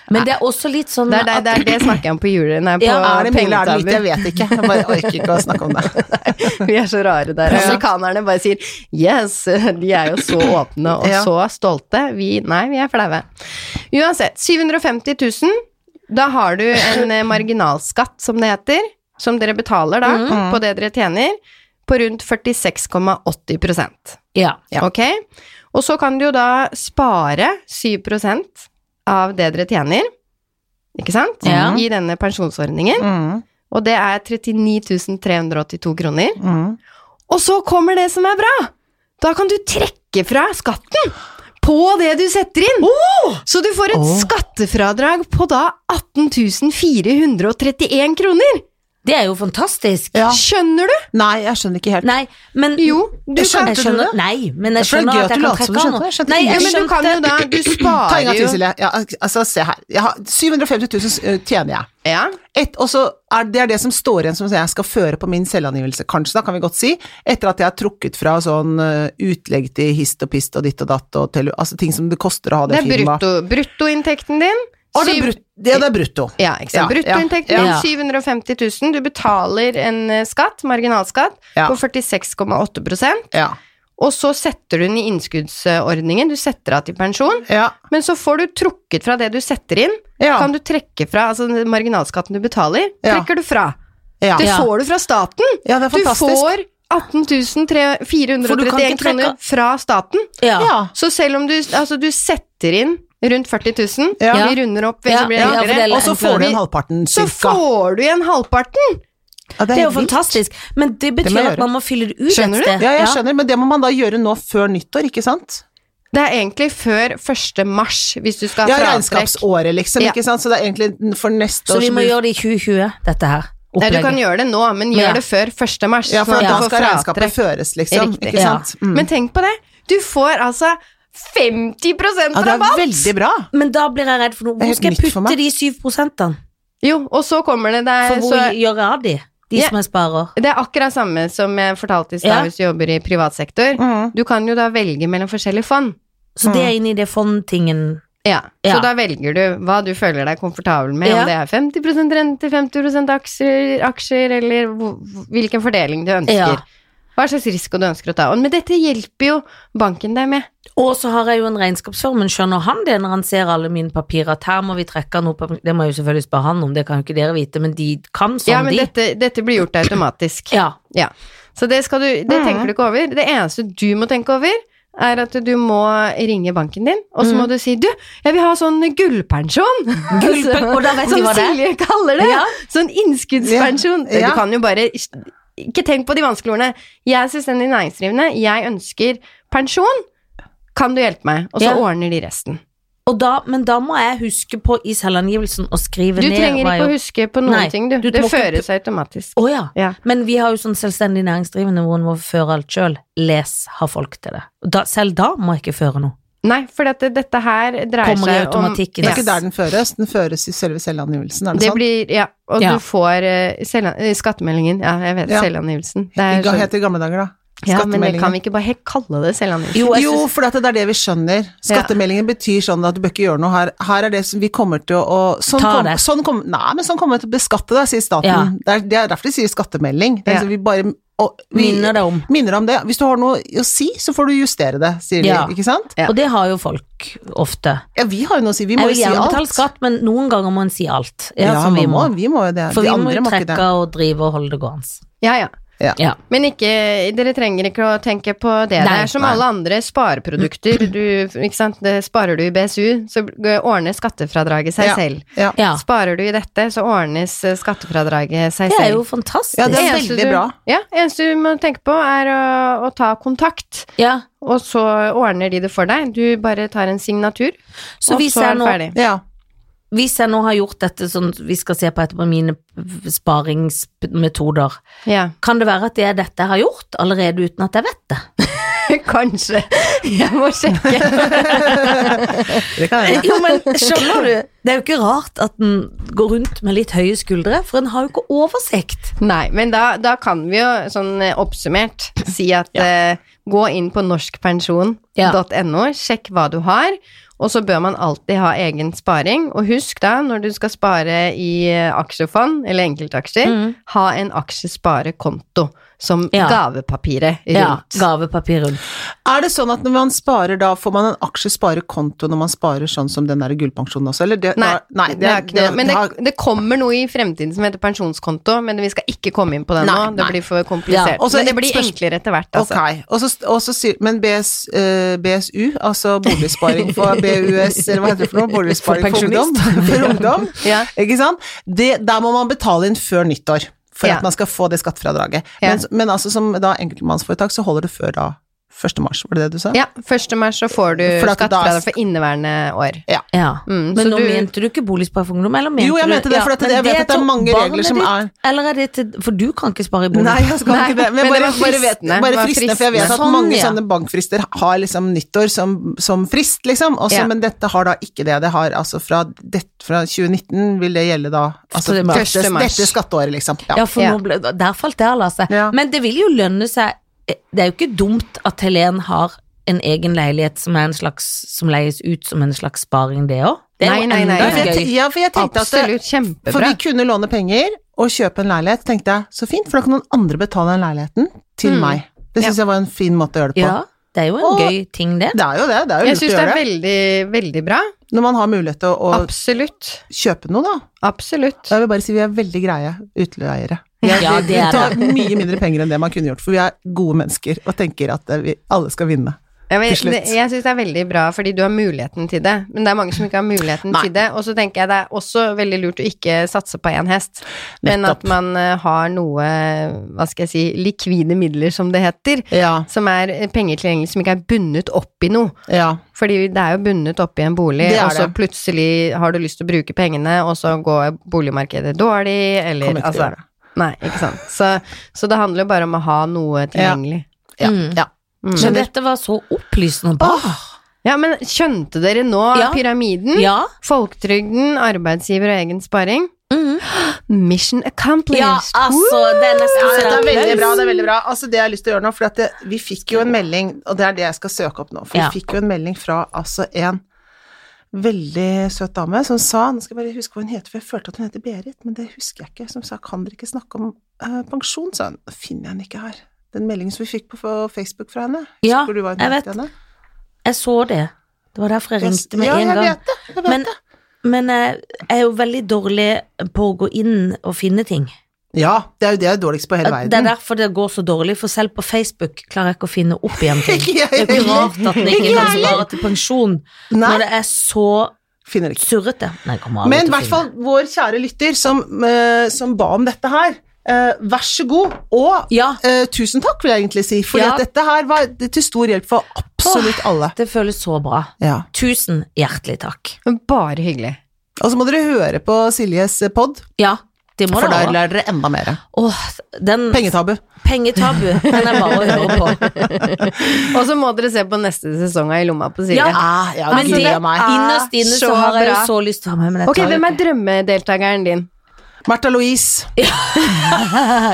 Men det er også litt sånn Det er det, at det, er det snakker jeg om på julen. Nei, på Ja, Er det mye eller er det pengetavler. lite? Jeg vet ikke. Jeg bare orker ikke å snakke om det. Vi er så rare der. Ja. Amerikanerne bare sier yes. De er jo så åpne og Ja. så stolte. Vi, nei, vi er flaue. Uansett, 750 000. Da har du en eh, marginalskatt, som det heter, som dere betaler da, på det dere tjener, på rundt 46,80 Ja. Ja. Ok? Og så kan du jo da spare 7 av det dere tjener, ikke sant? Ja. I denne pensjonsordningen. Mm, Og det er 39 382 kroner. mm. Og så kommer det som er bra! Da kan du trekke fra skatten på det du setter inn! Så du får et Oh! Åh. skattefradrag på da 18 431 kroner! Det er jo fantastisk. Ja. Skjønner du? Nei, jeg skjønner ikke helt. Nei, men Jo, du Jeg kan, skjønte jeg skjønner, Nei, men jeg For det er skjønner gøy at at jeg du kan later som du trekke skjønte det. av nå. Jeg skjønte Nei, ikke. ja, jeg men du skjønte kan jo da Du Ta en sparer gang til, jo Silje. Ja, al- altså, se her. Jeg har 750 000 tjener jeg. ja. Et, og så er det er det som står igjen som jeg skal føre på min selvangivelse, kanskje, da kan vi godt si, etter at jeg har trukket fra sånn eh, utlegg til hist og pist og ditt og datt og tele, altså ting som det koster å ha Det det, er firmaet. brutto, bruttoinntekten din. Å, det er syv- brutto. Ja, det er brutto. Ja, ikke sant. Ja, Bruttoinntekten ja, din ja. 750 000. Du betaler en eh, skatt, marginalskatt, Ja. på 46,8 Ja. Og så setter du den i innskuddsordningen, du setter av til pensjon, Ja. men så får du trukket fra det du setter inn, Ja. kan du trekke fra, altså den marginalskatten du betaler, Ja. trekker du fra. Ja. Det Ja. får du fra staten! ja, det er Du fantastisk. får 18 300 For du kan 431 ikke trekke- kroner fra staten. Ja. Ja. Så selv om du, altså du setter inn rundt 40 000, Ja. vi runder opp, Ja, så blir det ja, for enklere, det er Og så får du igjen halvparten, så cirka. får du igjen halvparten! Ja, Det er jo helt vilt. fantastisk. Men det må betyr jeg at man må fylle det ut et Skjønner du? sted. Ja, jeg skjønner, men det må man da gjøre nå før nyttår, ikke sant? Det er egentlig før 1. mars, hvis du skal Ja, ha fratrekk. regnskapsåret, liksom, Ja. ikke sant? Så det er egentlig for neste Så år vi må blir- gjøre det i 2020, dette her. Nei, du kan Opplegget. gjøre det nå, men Ja. gjør det før 1. mars. Ja, for sånn at da du får skal regnskapet fratrekk. føres, liksom. Riktig. Ikke sant? Ja. Mm. Men tenk på det, du får altså 50 Ja, det er rabatt! veldig bra. Men da blir jeg redd for noe. Det er Hvor helt skal jeg nytt for putte meg. de syv prosentene? Jo, og så kommer det der For hvor så, gjør jeg av de? De Ja. som jeg sparer. Det er akkurat samme som jeg fortalte i stad Ja. Mm. hvis du jobber i privat sektor. Mm. Du kan jo da velge mellom forskjellige fond. Så det Mm. er inni det fondtingen. Ja, Ja. Så da velger du hva du føler deg komfortabel med, Ja. om det er 50 rente, 50 aksjer, aksjer eller hvor- hvilken fordeling du ønsker. Ja. Hva slags risiko du ønsker å ta. Og- Men dette hjelper jo banken deg med. Og så har jeg jo en regnskapsfører, men skjønner han det når han ser alle mine papirer at her må vi trekke noe på Det må jeg jo selvfølgelig spørre han om, det kan jo ikke dere vite, men de kan sånn, ja, men de. dette, dette blir gjort automatisk. Ja. Ja. Så det, skal du, det Mm. tenker du ikke over. Det eneste du må tenke over, er at du må ringe banken din, og så Mm. må du si 'du, jeg vil ha sånn gullpensjon', Gullpen- og da vet de som hva det er. Silje kaller det. Ja. Sånn innskuddspensjon. Ja. Ja. Du kan jo bare Ikke tenk på de vanskelige ordene. Jeg er selvstendig næringsdrivende, jeg ønsker pensjon. Kan du hjelpe meg? Og så Ja. ordner de resten. Og da, men da må jeg huske på i selvangivelsen å skrive Du ned trenger hva jeg ikke å gjorde. huske på noen Nei, ting, du. du det må ikke- føres automatisk. Å ja. Ja. Men vi har jo sånn selvstendig næringsdrivende hvor en må føre alt sjøl. Les, har folk til det. Da, selv da må jeg ikke føre noe. Nei, for dette, dette her dreier Kommer i seg om automatikken. Det Ja. er ikke der den føres, den føres i selve selvangivelsen, er det, Det sånn? blir, ja, og Ja. du får eh, selv, eh, skattemeldingen. Ja, jeg vet Ja. selvangivelsen. Det Det er sånn- heter i gamle dager, da. ja, men det kan Skattemeldingen. vi ikke bare helt kalle det selvangivelsen? Jo, jeg Jo, synes- for dette, det er det vi skjønner. Skattemeldingen betyr sånn at du bør ikke gjøre noe her. Her er det som vi kommer til å å- sånn Ta kom, det. sånn kom, Nei, men sånn kommer vi til å beskatte deg, sier staten. Ja. Det, er, det er derfor de sier skattemelding. Det er Ja. liksom vi bare og, vi, Minner deg om. Minner om det. Hvis du har noe å si, så får du justere det, sier Ja. de. Ikke sant? Ja. Og det har jo folk ofte. Ja, vi har jo noe å si. Vi må jeg jo vil si gjerne alt. betale skatt, men noen ganger må en si alt. Ja, så man må, vi må jo det. For de vi må andre jo må ikke det. trekke og drive og holde det gående. Ja, ja. Ja. Men ikke, dere trenger ikke å tenke på det. det Nei, er som nei. alle andre spareprodukter. Du, ikke sant? Det sparer du i BSU, så ordner skattefradraget seg Ja. selv. Ja. ja. Sparer du i dette, så ordnes eh, skattefradraget seg Det er selv. jo fantastisk. Ja, det er Eneste veldig du- bra. Ja, eneste du må tenke på, er å, å ta kontakt, Ja. og så ordner de det for deg. Du bare tar en signatur, Så og hvis så jeg er nå det ferdig. Ja. hvis jeg nå har gjort dette som vi skal se på etterpå, mine p- sparingsmetoder, Ja. kan det være at det er dette jeg har gjort, allerede uten at jeg vet det? Kanskje. Jeg må sjekke. Det kan jeg. Jo, men skjønner du, det er jo ikke rart at en går rundt med litt høye skuldre, for en har jo ikke oversikt. Nei, men da, da kan vi jo sånn eh, oppsummert si at eh, gå inn på norskpensjon.no, sjekk hva du har, og så bør man alltid ha egen sparing. Og husk da, når du skal spare i eh, aksjefond eller enkeltaksjer, ha en aksjesparekonto som Mm. Ja. gavepapiret Ja, rundt. gavepapir rundt. Er det sånn at når man sparer da, får man en aksjesparekonto når man sparer sånn som den der gullpensjonen også, eller? Det, Nei, da, nei det er ikke noe. Men det, har- det kommer noe i fremtiden som heter pensjonskonto, men vi skal ikke komme inn på den Nei, nå. Det nei. blir for komplisert. Ja, og så men det et blir spørs- enklere etter hvert, altså. Ok, og så, og så sier, men BS, eh, BSU, altså boligsparing for BUS, eller hva heter det for noe? Boligsparing for, For pensjonist. ungdom. For ungdom Ja. Ikke sant? Det, der må man betale inn før nyttår, for Ja. at man skal få det skattefradraget. Ja. Men, men altså som da enkeltmannsforetak, så holder det før da 1. mars, var det det du sa? Ja, 1. mars så får du For at da- skattefradrag for inneværende år. Ja. Mm, men så nå du- mente du ikke boligsparing for ungdom, eller mente Jo, jeg du- mente det, for at men jeg vet at det er til mange barnet regler som ditt, er- Eller er det til For du kan ikke spare i bolig. Nei, jeg skal Nei, ikke det. Men, men det bare, var bare, vet, fristende. Det bare var fristende, for jeg vet fristende. at mange Sånn, ja. sånne bankfrister har liksom nyttår som, som frist, liksom. Også, Ja. Men dette har da ikke det. Det har altså fra, det, fra 2019 vil det gjelde da altså, Første mars. dette, Første mars. dette skatteåret, liksom. Ja. Ja, for Ja. nå ble, der falt jeg, Lasse. Ja. Men det vil jo lønne seg Det er jo ikke dumt at Helen har en egen leilighet som, er en slags, som leies ut som en slags sparing, det òg. Det er Nei, jo nei, nei, enda Ja, for jeg, gøy. te- ja, for jeg tenkte at det, Absolutt, kjempebra. For vi kunne låne penger og kjøpe en leilighet, tenkte jeg. Så fint, for da kan noen andre betale den leiligheten til Mm. meg. Det syns jeg var en fin måte å gjøre det på. Ja, det er jo en Og- gøy ting, det. Det er jo det. Det er jo lurt jeg å syns det gjøre er det. veldig, veldig bra. Når man har mulighet til å, å Absolutt. kjøpe noe, da. Absolutt. Da vil jeg bare si vi er veldig greie utleiere. Ja, Vi det er tar det. mye mindre penger enn det man kunne gjort, for vi er gode mennesker og tenker at eh, vi alle skal vinne. Jeg, jeg til slutt. syns det er veldig bra fordi du har muligheten til det, men det er mange som ikke har muligheten Nei. til det. Og så tenker jeg det er også veldig lurt å ikke satse på én hest, men Nettopp. at man eh, har noe, hva skal jeg si, likvide midler, som det heter. Ja, Som er eh, penger tilgjengelig som ikke er bundet opp i noe. ja. Fordi det er jo bundet opp i en bolig, Det er og så det. plutselig har du lyst til å bruke pengene, og så går boligmarkedet dårlig, eller Kommer ikke til å altså gjøre det. Nei, ikke sant. Så, så det handler jo bare om å ha noe tilgjengelig. Ja, Mm. ja. Mm. Men dette var så opplysende. Bra. Ah. Ja, men skjønte dere nå Ja. pyramiden? Ja. Folketrygden, arbeidsgiver og egen sparing? Mm. Mission accomplished! ja, altså, det er nesten Ja, så det er applaus. veldig bra. det er veldig bra. Altså, det jeg har lyst til å gjøre nå, for at det, vi fikk jo en melding, og det er det jeg skal søke opp nå, for Ja. vi fikk jo en melding fra altså en veldig søt dame som sa Nå skal jeg bare huske hva hun heter, for jeg følte at hun heter Berit, men det husker jeg ikke. Som sa kan dere ikke snakke om eh, pensjon, sa hun. Finner jeg henne ikke her. Den meldingen som vi fikk på på Facebook fra henne. Ja, Husker du hva hun jeg het vet. henne? Jeg så det. Det var derfor jeg ringte med ja, en jeg gang. vet det. Jeg vet Men, det. men eh, jeg er jo veldig dårlig på å gå inn og finne ting. Ja, det er jo det jeg er dårligst på i hele verden. Det er derfor det går så dårlig, for selv på Facebook klarer jeg ikke å finne opp igjen ting. Ikke jeg Det er ikke heller. rart at den ikke Ikke kan jeg spare til pensjon Nei, når det er så finner det ikke. surrete. Nei, jeg kommer aldri Men i til å hvert finne. fall vår kjære lytter som, eh, som ba om dette her, eh, vær så god, og Ja, eh, tusen takk, vil jeg egentlig si, for Ja. at dette her var til stor hjelp for absolutt alle. det føles så bra. Ja. Tusen hjertelig takk. Men bare hyggelig. Og så må dere høre på Siljes pod, Ja, det må for det der være. lærer dere enda mer. Åh, den Pengetabu. pengetabu, den er bare å høre på. Og så må dere se på neste sesong av I lomma på Silje. Ja. Ah, ja, Men gud, det, ja, meg. innerst inne så Så har jeg jo bra. så lyst til å være med, men jeg Ok, tar jo hvem ikke- er drømmedeltakeren din? Martha Louise.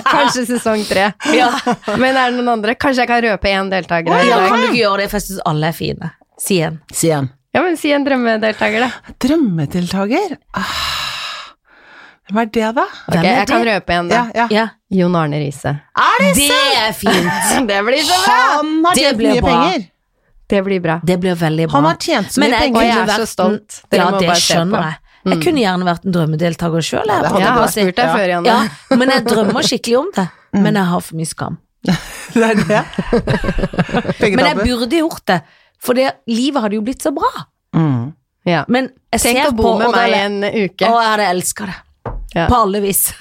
Kanskje sesong tre. Men er det noen andre? Kanskje jeg kan røpe én deltaker? her i Ja, dag? kan du ikke gjøre det, for jeg syns alle er fine. Si en. Si igjen. Ja, men si en drømmedeltaker, da. Drømmedeltaker? Ah. Hvem er det, da? Hvem Ok, er jeg kan det? røpe en, da. Ja, ja. Ja. Jon Arne Riise. Er det Det er fint. Det blir så Han har Det tjent ble mye bra. penger. Det blir bra. Det blir veldig bra. Han har tjent så Men mye jeg penger. Og kunne jeg er vært så en- stolt. Dere ja, må det bare se skjønner på. Mm. jeg. Jeg kunne gjerne vært en drømmedeltaker sjøl, det jeg. hadde Jeg du har vært. bare spurt deg Ja. før, Janne. ja, men jeg drømmer skikkelig om det. Mm. men jeg har for mye skam. Det er det. Men jeg Pengetabbe. burde gjort det, for det, livet hadde jo blitt så bra. Mm. Ja. Men jeg Tenk ser å bo på med og da- meg en uke. Å, jeg hadde elska det. Ja. På alle vis.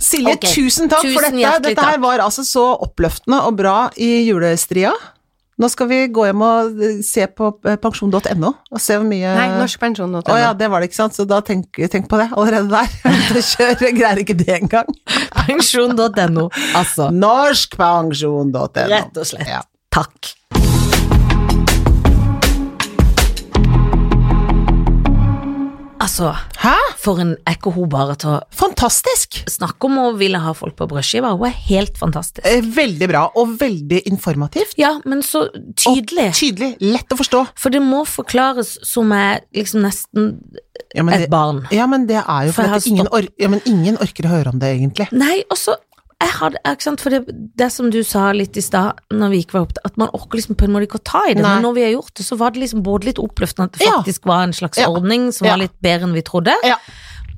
Silje, Ok. tusen takk Tusen for dette. hjertelig Dette her takk. var altså så oppløftende og bra i julestria. Nå skal vi gå hjem og eh, se på eh, pensjon.no og se hvor mye Nei, norskpensjon.no. Å ja, det var det, ikke sant? Så da tenk, tenk på det allerede der. Det kjører, jeg greier ikke det engang. Pensjon.no, altså. Norskpensjon.no. Rett og slett. Ja. Takk. Altså, Hæ? for en er ikke hun bare til å Fantastisk! snakke om hun ville ha folk på brødskiva. Hun er helt fantastisk. Eh, Veldig bra, og veldig informativt. Ja, men så Og tydelig. tydelig, lett å forstå. For det må forklares som jeg liksom nesten Ja, men et det, barn. ja, men det er jo For fordi jeg har at ingen, or ja, men ingen orker å høre om det, egentlig. Nei, og så jeg hadde, ja, ikke sant, for det, det som du sa litt i stad, når vi ikke var opp, at man orker liksom på en måte ikke å ta i det, Nei. men når vi har gjort det, så var det liksom både litt oppløftende at det Ja. faktisk var en slags Ja. ordning som Ja. var litt bedre enn vi trodde, Ja.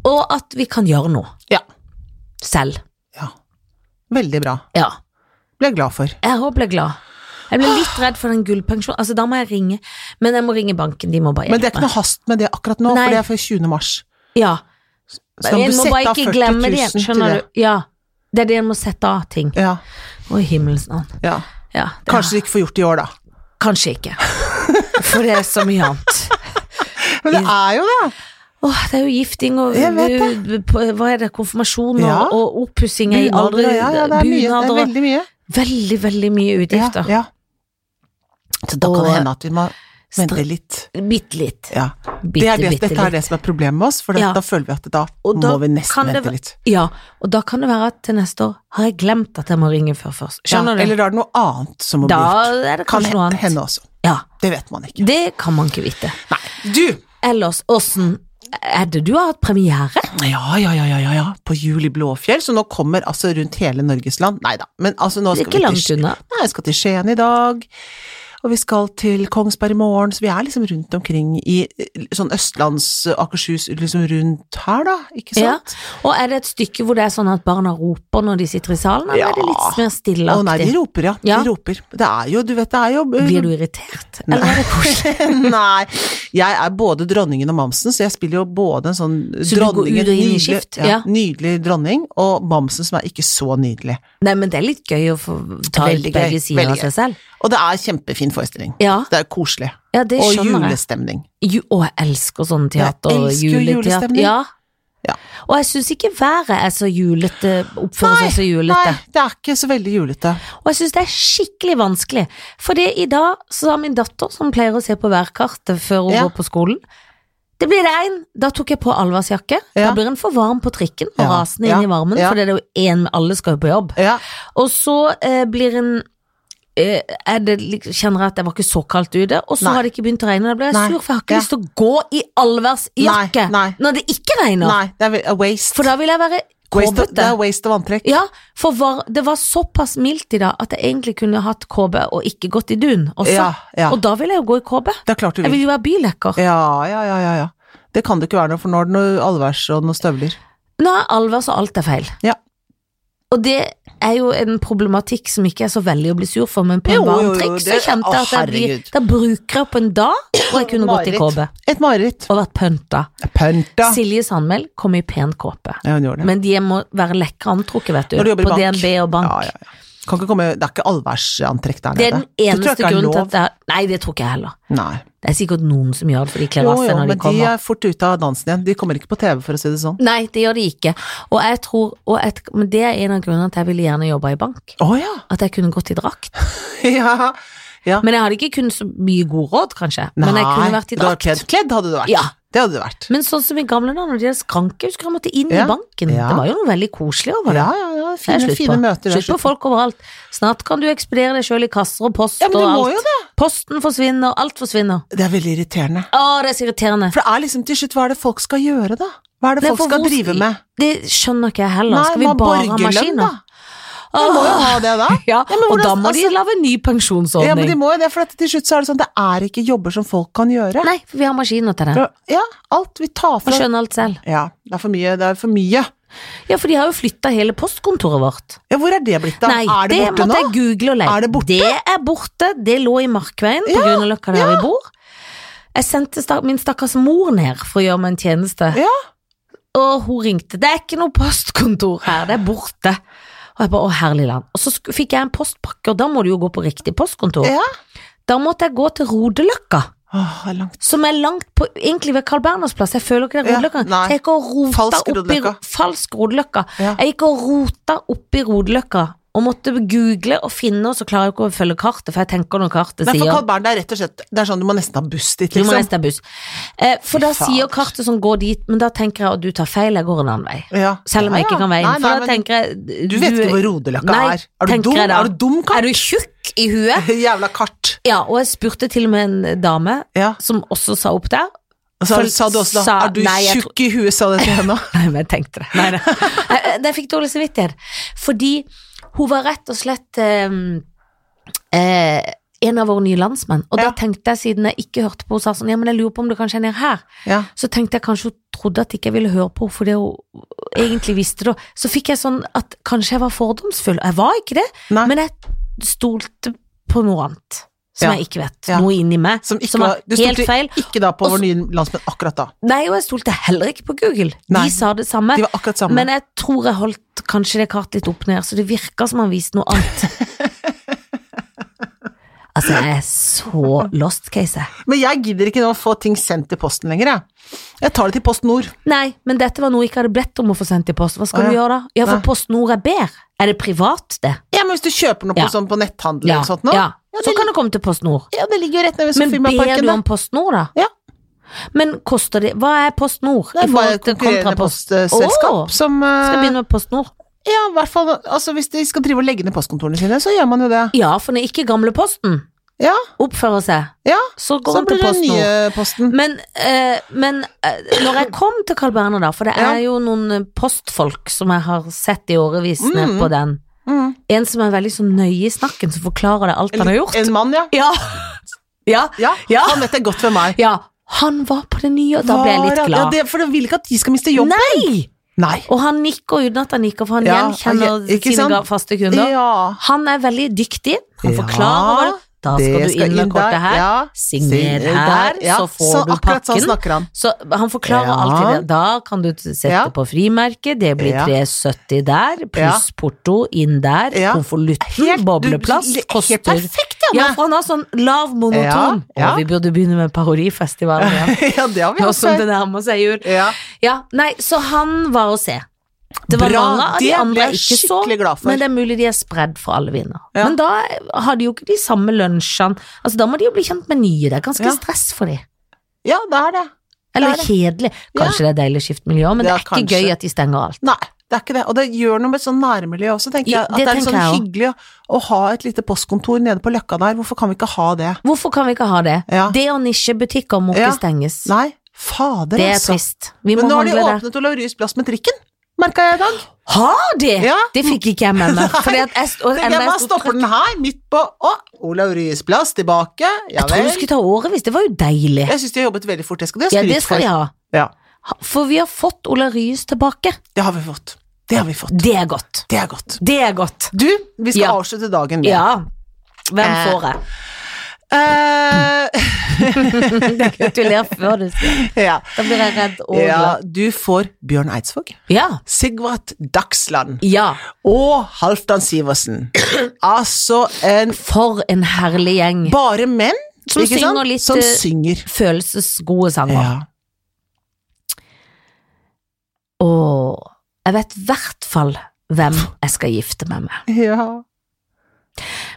og at vi kan gjøre noe Ja. selv. ja. Veldig bra. Ja. Ble jeg glad for. Jeg òg ble glad. Jeg ble litt redd for den gullpensjonen. Altså, da må jeg ringe, men jeg må ringe banken, de må bare Men det er hjelpe ikke noe hast med det akkurat nå, Nei. for det er før 20. mars. Ja. Så da må En du må sette bare av ikke 40 000 glemme det igjen, til skjønner det. du. Ja. Det er det en må sette av ting. Ja, Å, i himmelens navn. ja. Ja, det er- Kanskje du ikke får gjort det i år, da. Kanskje ikke. For det er så mye annet. Men det er jo det! Åh, det er jo gifting og Jeg vet bu- på- hva er det, konfirmasjon og, Ja. og oppussing er aldri Bunader og ja, ja, det er mye. Det bunader er og- veldig mye. veldig, veldig mye Ja, utgifter. ja. Så da kan Og- det hende at vi må vente Stra- litt. Bitte litt. Ja. Det Bitte, er det, bitte dette er litt. det som er problemet med oss, for Ja. da føler vi at da, Og da må vi kan nesten det vente væ- litt. Ja, og da kan det være at til neste år har jeg glemt at jeg må ringe før først. Ja, Skjønner du? eller er det noe annet som må bli Da gjort. er det Kan kanskje noe hen- annet. hende også. Ja, Det vet man ikke. det kan man ikke vite. Nei. Du! Ellers, åssen er det du har hatt premiere? Ja, ja, ja, ja, ja, ja. På jul i Blåfjell, så nå kommer altså rundt hele Norges land. Nei da, men altså nå Det er skal ikke vi til langt unna. Nei, jeg skal til Skien i dag, og vi skal til Kongsberg i morgen, så vi er liksom rundt omkring i eh, sånn Østlands, eh, Akershus, liksom rundt her da, ikke Ja. sant? Og er det et stykke hvor det er sånn at barna roper når de sitter i salen, eller Ja. er det litt mer Å nei, de stilleaktig? roper, ja. Ja. De roper. Det er jo, du vet, det er jo Blir du irritert, eller er det koselig? Nei, jeg er både dronningen og mamsen, så jeg spiller jo både en sånn Så du går dronning, ut og inn i nydelig- skift, Ja, ja. nydelig dronning, og mamsen som er ikke så nydelig. Nei, men det er litt gøy å få ta Veldig ut begge gøy, sider veldig av seg selv. Og det er kjempefin forestilling. Ja, Det er koselig. ja det Og skjønner jeg. julestemning. Ju og jeg elsker sånn teater. Jeg og elsker jo juleteater. julestemning. Ja. Ja. Og jeg syns ikke været er så julete, oppfører seg så Nei, julete. det er ikke så veldig julete. Og jeg syns det er skikkelig vanskelig. For det i dag så har min datter, som pleier å se på værkartet før hun Ja. går på skolen Det blir regn! Da tok jeg på allværsjakke. Da Ja. blir en for varm på trikken og Ja. rasende Ja. inn i varmen, Ja. for det er jo én alle skal jo på jobb. Ja, Og så eh, blir en eh, er det, lik- Kjenner jeg at det var ikke så kaldt ute, og så Nei. har det ikke begynt å regne. Da ble jeg Nei. sur, for jeg har ikke Ja. lyst til å gå i allværsjakke Nei, nei. når det ikke regner. Nei, det er ve- a waste. For da vil jeg være waste of, det kåpete. er waste av antrekk. Ja, for var, det var såpass mildt i dag at jeg egentlig kunne hatt KB og ikke gått i dun også. Ja, ja. Og da vil jeg jo gå i KB. Det er klart du Jeg vil. vil jo være bylekker. Ja, ja, ja, ja, ja. Det kan det ikke være noe, for nå er det noe allværs og noen støvler. Nå er allværs og alt er feil. Ja. Og det er jo en problematikk som ikke er så veldig å bli sur for, men på en Jo, jo, jo, varm trikk så det- kjente jeg å, at jeg blir herregud. Da bruker jeg opp en dag hvor jeg kunne gått i KB Mareritt. Et mareritt. og vært pønta. Pønta. Silje Sandmæl kom i pen kåpe. Ja, hun gjorde det. Men de må være lekre antrukket, vet du. Når du jobber i På bank. DNB og bank. Ja, ja, ja. Kan ikke komme, det er ikke allværsantrekk der Det er nede. den eneste grunnen til at det er Nei, det tror ikke jeg heller. Nei. Det er sikkert noen som gjør det, for de kler Jo, av jo, seg når de men de kommer. er fort ute av dansen igjen. De kommer ikke på TV, for å si det sånn. Nei, det gjør de ikke. Og jeg tror, og et, men det er en av grunnene til at jeg ville gjerne jobbe i bank. Å ja. At jeg kunne gått i drakt. ja! Ja. Men jeg hadde ikke kunnet så mye god råd, kanskje. Men jeg kunne vært i du har drakt. kledd, kledd hadde du vært. Ja. Det hadde du vært. Men sånn som i gamle dager, når de hadde skranke, husker jeg jeg måtte inn Ja. i banken. Ja. Det var jo noe veldig koselig over det. Ja, ja, ja. Det er Fine, slutt fine på. møter. det er Slutt på folk overalt. Snart kan du ekspedere deg sjøl i kasser og post Ja, men og du må alt. jo det. Posten forsvinner, alt forsvinner. Det er veldig irriterende. Å, det er så irriterende. For det er liksom til slutt, hva er det folk skal gjøre, da? Hva er det Nei, folk for skal hvor- drive med? Det skjønner ikke jeg heller. Nei, Skal vi hva er bare ha borgerlønn, maskiner? da? Man må jo Åh. ha det, da. Ja, Ja, men og da hvordan- må de altså- lage en ny pensjonsordning. Ja, men de må jo det, for at til slutt så er det sånn, det er ikke jobber som folk kan gjøre. Nei, for vi har maskiner til det. Ja, alt vi tar Og fra skjønner alt selv. Ja, det er for mye. Det er for mye. Ja, for de har jo flytta hele postkontoret vårt. Ja, hvor er det blitt av? Nei, Er det borte nå? måtte jeg google og leie. Er det borte? Det er borte. Det lå i Markveien på Grünerløkka der vi bor. Jeg sendte sta- min stakkars mor ned for å gjøre meg en tjeneste. Ja. Og hun ringte. Det er ikke noe postkontor her, det er borte. Og jeg bare, å herlig land. Og så sk- fikk jeg en postpakke, og da må du jo gå på riktig postkontor. Ja. Da måtte jeg gå til Rodeløkka, Åh, det er langt. som er langt på, egentlig ved Carl Berners plass. Jeg føler ikke det er Ja, Rodeløkka. nei. så jeg gikk og rota Falsk opp i- Rodeløkka. Falsk Rodeløkka. Ja. Jeg gikk og rota opp i Rodeløkka, og måtte google og finne, og så klarer jeg ikke å følge kartet, for jeg tenker når kartet Nei, for sier Carl Bernt er rett og slett Det er sånn du må nesten ha buss dit, du må liksom. nesten ha buss. Eh, for da Fy sier fader. kartet sånn, gå dit, men da tenker jeg at du tar feil, jeg går en annen vei. Ja. Selv om jeg Ja, ja. ikke kan veien. Nei, nei, for da men tenker jeg Du vet ikke hvor Rodeløkka Nei, er. Er du tenker dum? jeg da. Er du dum, Carl? Er du tjukk i huet? Jævla kart. Ja, og jeg spurte til og med en dame Ja. som også sa opp der. Og så Føl- sa du også da sa- Er du Nei, jeg tjukk i huet, sa du til henne òg. Nei, men jeg tenkte det. Nei, nei. Jeg, jeg- jeg fikk dårlig samvittighet. Fordi hun var rett og slett eh, eh, en av våre nye landsmenn. Og Ja. da tenkte jeg, siden jeg ikke hørte på hun sa sånn, ja, men jeg lurer på om du kanskje er nede her. Ja. Så tenkte jeg kanskje hun trodde at ikke jeg ville høre på henne fordi hun egentlig visste det. Så fikk jeg sånn at kanskje jeg var fordomsfull. Jeg var ikke det, Nei. men jeg stolte på noe annet. Som Ja. jeg ikke vet. Ja. Noe inni meg Som ikke var var- du helt stolte- feil. Ikke da på Og vår så- nye landsmenn akkurat da. Nei, og jeg stolte heller ikke på Google. Nei. De sa det samme. De var akkurat samme. Men jeg tror jeg holdt kanskje det kartet litt opp ned, så det virka som han viste noe annet. altså, jeg er så lost case, jeg. Men jeg gidder ikke nå å få ting sendt i posten lenger, jeg. Jeg tar det til Post Nord. Nei, men dette var noe jeg ikke hadde bedt om å få sendt i post. Hva skal Å, du ja. gjøre da? Ja, Nei. for Post Nord er bedre. Er det privat, det? Ja, men hvis du kjøper noe på, Ja. sånn på netthandel Ja. eller sånt nå ja. Ja, Så det- kan du komme til Post Nord. Ja, det ligger jo rett nede ved Men ber Sofiemarken, du da. om Post Nord, da? Ja. Men koster det Hva er Post Nord Det i er bare forhold et til konkurrerende kontrapost? postselskap Å, som eh, Skal jeg begynne med Post Nord? Ja, i hvert fall altså, Hvis de skal drive og legge ned postkontorene sine, så gjør man jo det. Ja, for når ikke gamleposten Ja, oppfører seg, ja. så går Så han blir til det Post Nord. nye posten. Men, eh, men eh, når jeg kom til Carl Berner, da, for det er jo noen eh, postfolk som jeg har sett i årevis nede på den. Mm. En som er veldig så nøye i snakken, som forklarer deg alt han har gjort. En mann, ja. Ja. ja. Ja, Ja. Han vet det godt ved meg. Ja. Han var på det nye, og da ble jeg Var litt han- glad. Ja, det, for du vil ikke at de skal miste jobben. Nei! Nei. Og han nikker uten at han nikker, for han Ja, gjenkjenner han gje- ikke sine sant? ga- faste kunder. Ja. Han er veldig dyktig. Han Ja, forklarer hva det Da skal du inn med kortet der, her. ja. Signer Signer her, der, ja. så får du Akkurat sånn pakken. snakker han. Så han forklarer Ja. alltid det. Da kan du sette Ja. på frimerket, det blir Ja. 370 der, pluss porto inn der, Ja. Helt- konvolutten, du- Mm, bobleplass, du- helt koster perfekt, Janne. Ja, for han har sånn lav monoton. Ja, ja. Å, vi burde begynne med parodifestivalen igjen. ja, det har vi Nå hatt som før. det nærmer seg jul. Ja. Ja, nei, så han var å se. Det var Bra, mange av de det ble andre jeg jeg ikke så, skikkelig glad for. men det er mulig de er spredd for alle viner. Ja. Men da har de jo ikke de samme lunsjene. Altså, da må de jo bli kjent med nye, det er ganske Ja. stress for de. ja, det er det. Eller Det er kjedelig. Kanskje det er deilig å skifte miljø, men det Ja, er ikke kanskje. gøy at de stenger alt. Nei, det er ikke det. Og det gjør noe med sånn nærmiljø også, tenker Ja, jeg. At det det, er tenker sånn jeg også. hyggelig å, å ha et lite postkontor nede på Løkka der. Hvorfor kan vi ikke ha det? Hvorfor kan vi ikke ha det? Ja. Det og nisjebutikker må Ja. ikke stenges. Nei, fader, det er altså. trist. Vi må Men nå har de handle der. åpnet Olav Ryes plass med trikken, merka jeg i dag. Har de?! Ja. Det fikk ikke jeg med meg. Nei. Fordi at jeg, st- og, Tenker enda jeg, hva jeg, sto- stopper den her, midt på Å, Olav Ryes plass, tilbake. Ja jeg trodde vel. det skulle ta årevis, det var jo deilig. Jeg syns de har jobbet veldig fort, det skal de ha Ja, det skryt skal for. de ha. Ja, Ha- For vi har fått Ola Ryes tilbake. det har vi fått. Det har vi fått. Det er godt. Det er godt. Det er godt. Du, vi skal Ja. avslutte dagen med Ja. Hvem Eh. får jeg? Eh, Gratulerer før du sier ja. Da blir jeg redd og ja. glad. Du får Bjørn Eidsvåg, Ja. Sigvart Dagsland Ja. og Halvdan Sivertsen. Altså en For en herlig gjeng. Bare menn Som ikke sant? synger litt, Som eh, synger. Følelsesgode sanger. Ja. Og jeg vet i hvert fall hvem jeg skal gifte meg med. ja.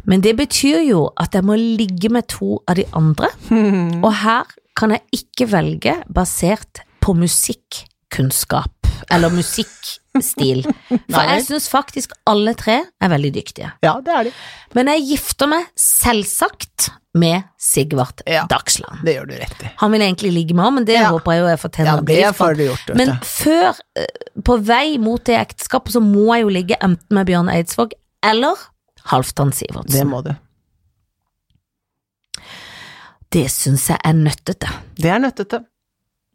Men det betyr jo at jeg må ligge med to av de andre, Hmm. og her kan jeg ikke velge basert på musikkunnskap eller musikkstil. For Nei. jeg syns faktisk alle tre er veldig dyktige. ja, det er de. Men jeg gifter meg selvsagt med Sigvart Ja. Dagsland. Det gjør du rett i. Han vil egentlig ligge med, men det Ja. håper jeg jo jeg fortjener. Ja, å bli det gift med. får du gjort, vet Men du. før, eh, på vei mot det ekteskapet, så må jeg jo ligge enten med Bjørn Eidsvåg eller Halvdan Det Sivertsen. må du. Det, synes syns jeg er nøttete. Det er nøttete.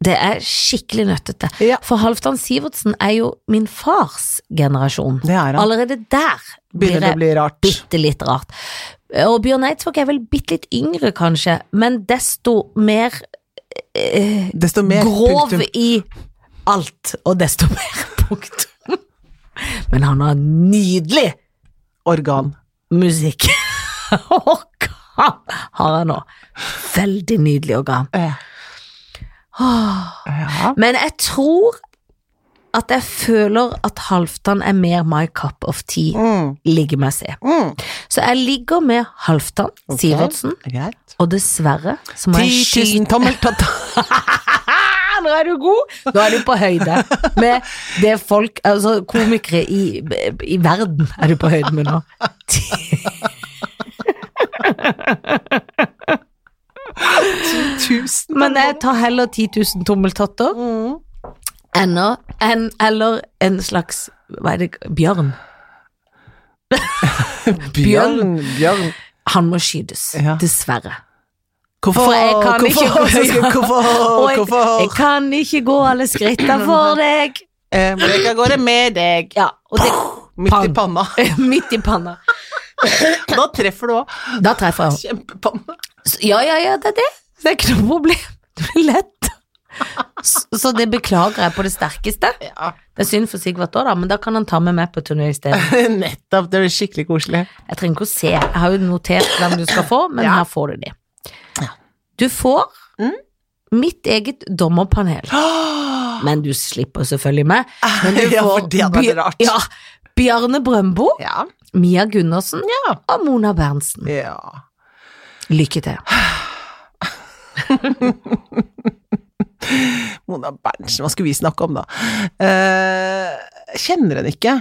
Det er skikkelig nøttete. Ja. For Halvdan Sivertsen er jo min fars generasjon. Det er han. Allerede der blir Begynner det å det bli rart. bitte litt rart. Og Bjørn Eidsvåg er vel bitte litt yngre, kanskje, men desto mer eh, Desto mer grov punktum. i alt, og desto mer punktum. Men han har nydelig Organ. musikk. Organ har han nå. Veldig nydelig organ. Eh, Åh. Ja. Men jeg tror at jeg føler at Halvdan er mer my cup of tea, Mm. ligger meg se. Mm. Så jeg ligger med Halvdan Ok. Sivertsen, Det er Greit. og dessverre så må jeg 10 000 skyte tommeltott. Ah, Nå er du god! Nå er du på høyde med det folk, altså komikere i, i verden er du på høyde med nå. Tusen Men jeg tar heller 10 000 tommeltotter Mm. ennå- enn- eller en slags, hva er det, bjørn. Bjørn. Bjørn. Han må skytes, Ja. dessverre. Hvorfor, For jeg kan hvorfor, ikke gå- hvorfor, Og jeg, jeg hvorfor? kan ikke gå alle skrittene for deg. Eh, men jeg kan gå det med deg. Ja, og det Midt i Pang. panna. midt i panna. Da treffer du òg. Da treffer jeg henne. Kjempepanne. Så- Ja, ja, ja, det er det. Det er ikke noe problem. Det blir lett. Så så det beklager jeg på det sterkeste. Ja. Det er synd for Sigvart òg, da, men da kan han ta med meg på turné isteden. Nettopp. Det blir skikkelig koselig. Jeg trenger ikke å se. Jeg har jo notert hvem du skal få, men Ja. her får du de. Du får Mm. mitt eget dommerpanel. Men du slipper selvfølgelig meg. Men du Ja, får for det hadde vært Bj- rart. Ja, Bjarne Brøndbo, Ja. Mia Gundersen Ja. og Mona Berntsen. ja. Lykke til. Mona Berntsen, hva skulle vi snakke om da? Eh, kjenner henne ikke.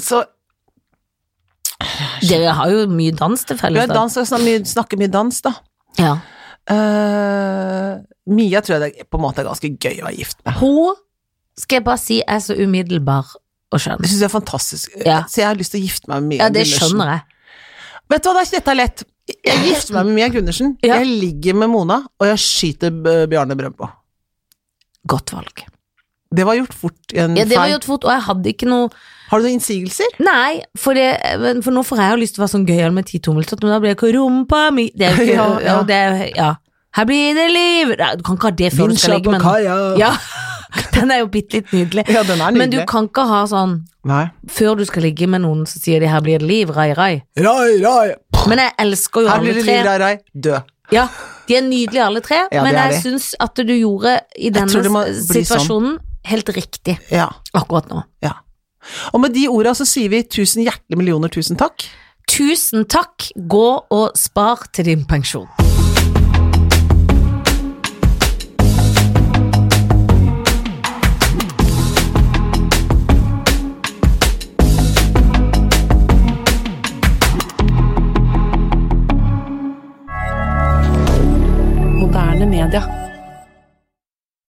Så Dere har jo mye dans til vi felles. har da. dans, og snakker mye- snakker mye dans, da. Ja. Eh, Mia tror jeg det på en måte er ganske gøy å være gift med. Hun, skal jeg bare si, er så umiddelbar og skjønn. Det syns jeg er fantastisk. Ja. Så jeg har lyst til å gifte meg med Mia Ja, det Gundersen. skjønner jeg. Vet du hva, det er- dette er lett. Jeg gifter meg med Mia Gundersen, Ja. jeg ligger med Mona, og jeg skyter B- Bjarne Brøndbo. Godt valg. Det var gjort fort i en Ja, det var feil. gjort fort, og jeg hadde ikke noe Har du noen innsigelser? Nei, for, det, men for nå får jeg jo lyst til å være sånn gøyal med ti tommeltott, men da blir jeg ikke rumpa mi Det er jo ikke Ja, ja, ja. Det er, jo- ja. Her blir det liv Nei, Du kan ikke ha det før du Vinsja skal legge på men kaia! Ja, den er jo bitte litt nydelig. Ja, den er nydelig. Men du kan ikke ha sånn Nei. før du skal ligge med noen, så sier de 'her blir det liv', rai, rai. Rai, rai! Men jeg elsker jo Her blir alle det liv, tre. rai, rai. Død. Ja, de er nydelige alle tre, Ja, men det er jeg de. syns at du gjorde i denne tror det må bli sånn. situasjonen helt riktig Ja. akkurat nå. ja. Og med de orda så sier vi tusen hjertelig millioner tusen takk. Tusen takk, gå og spar til din pensjon.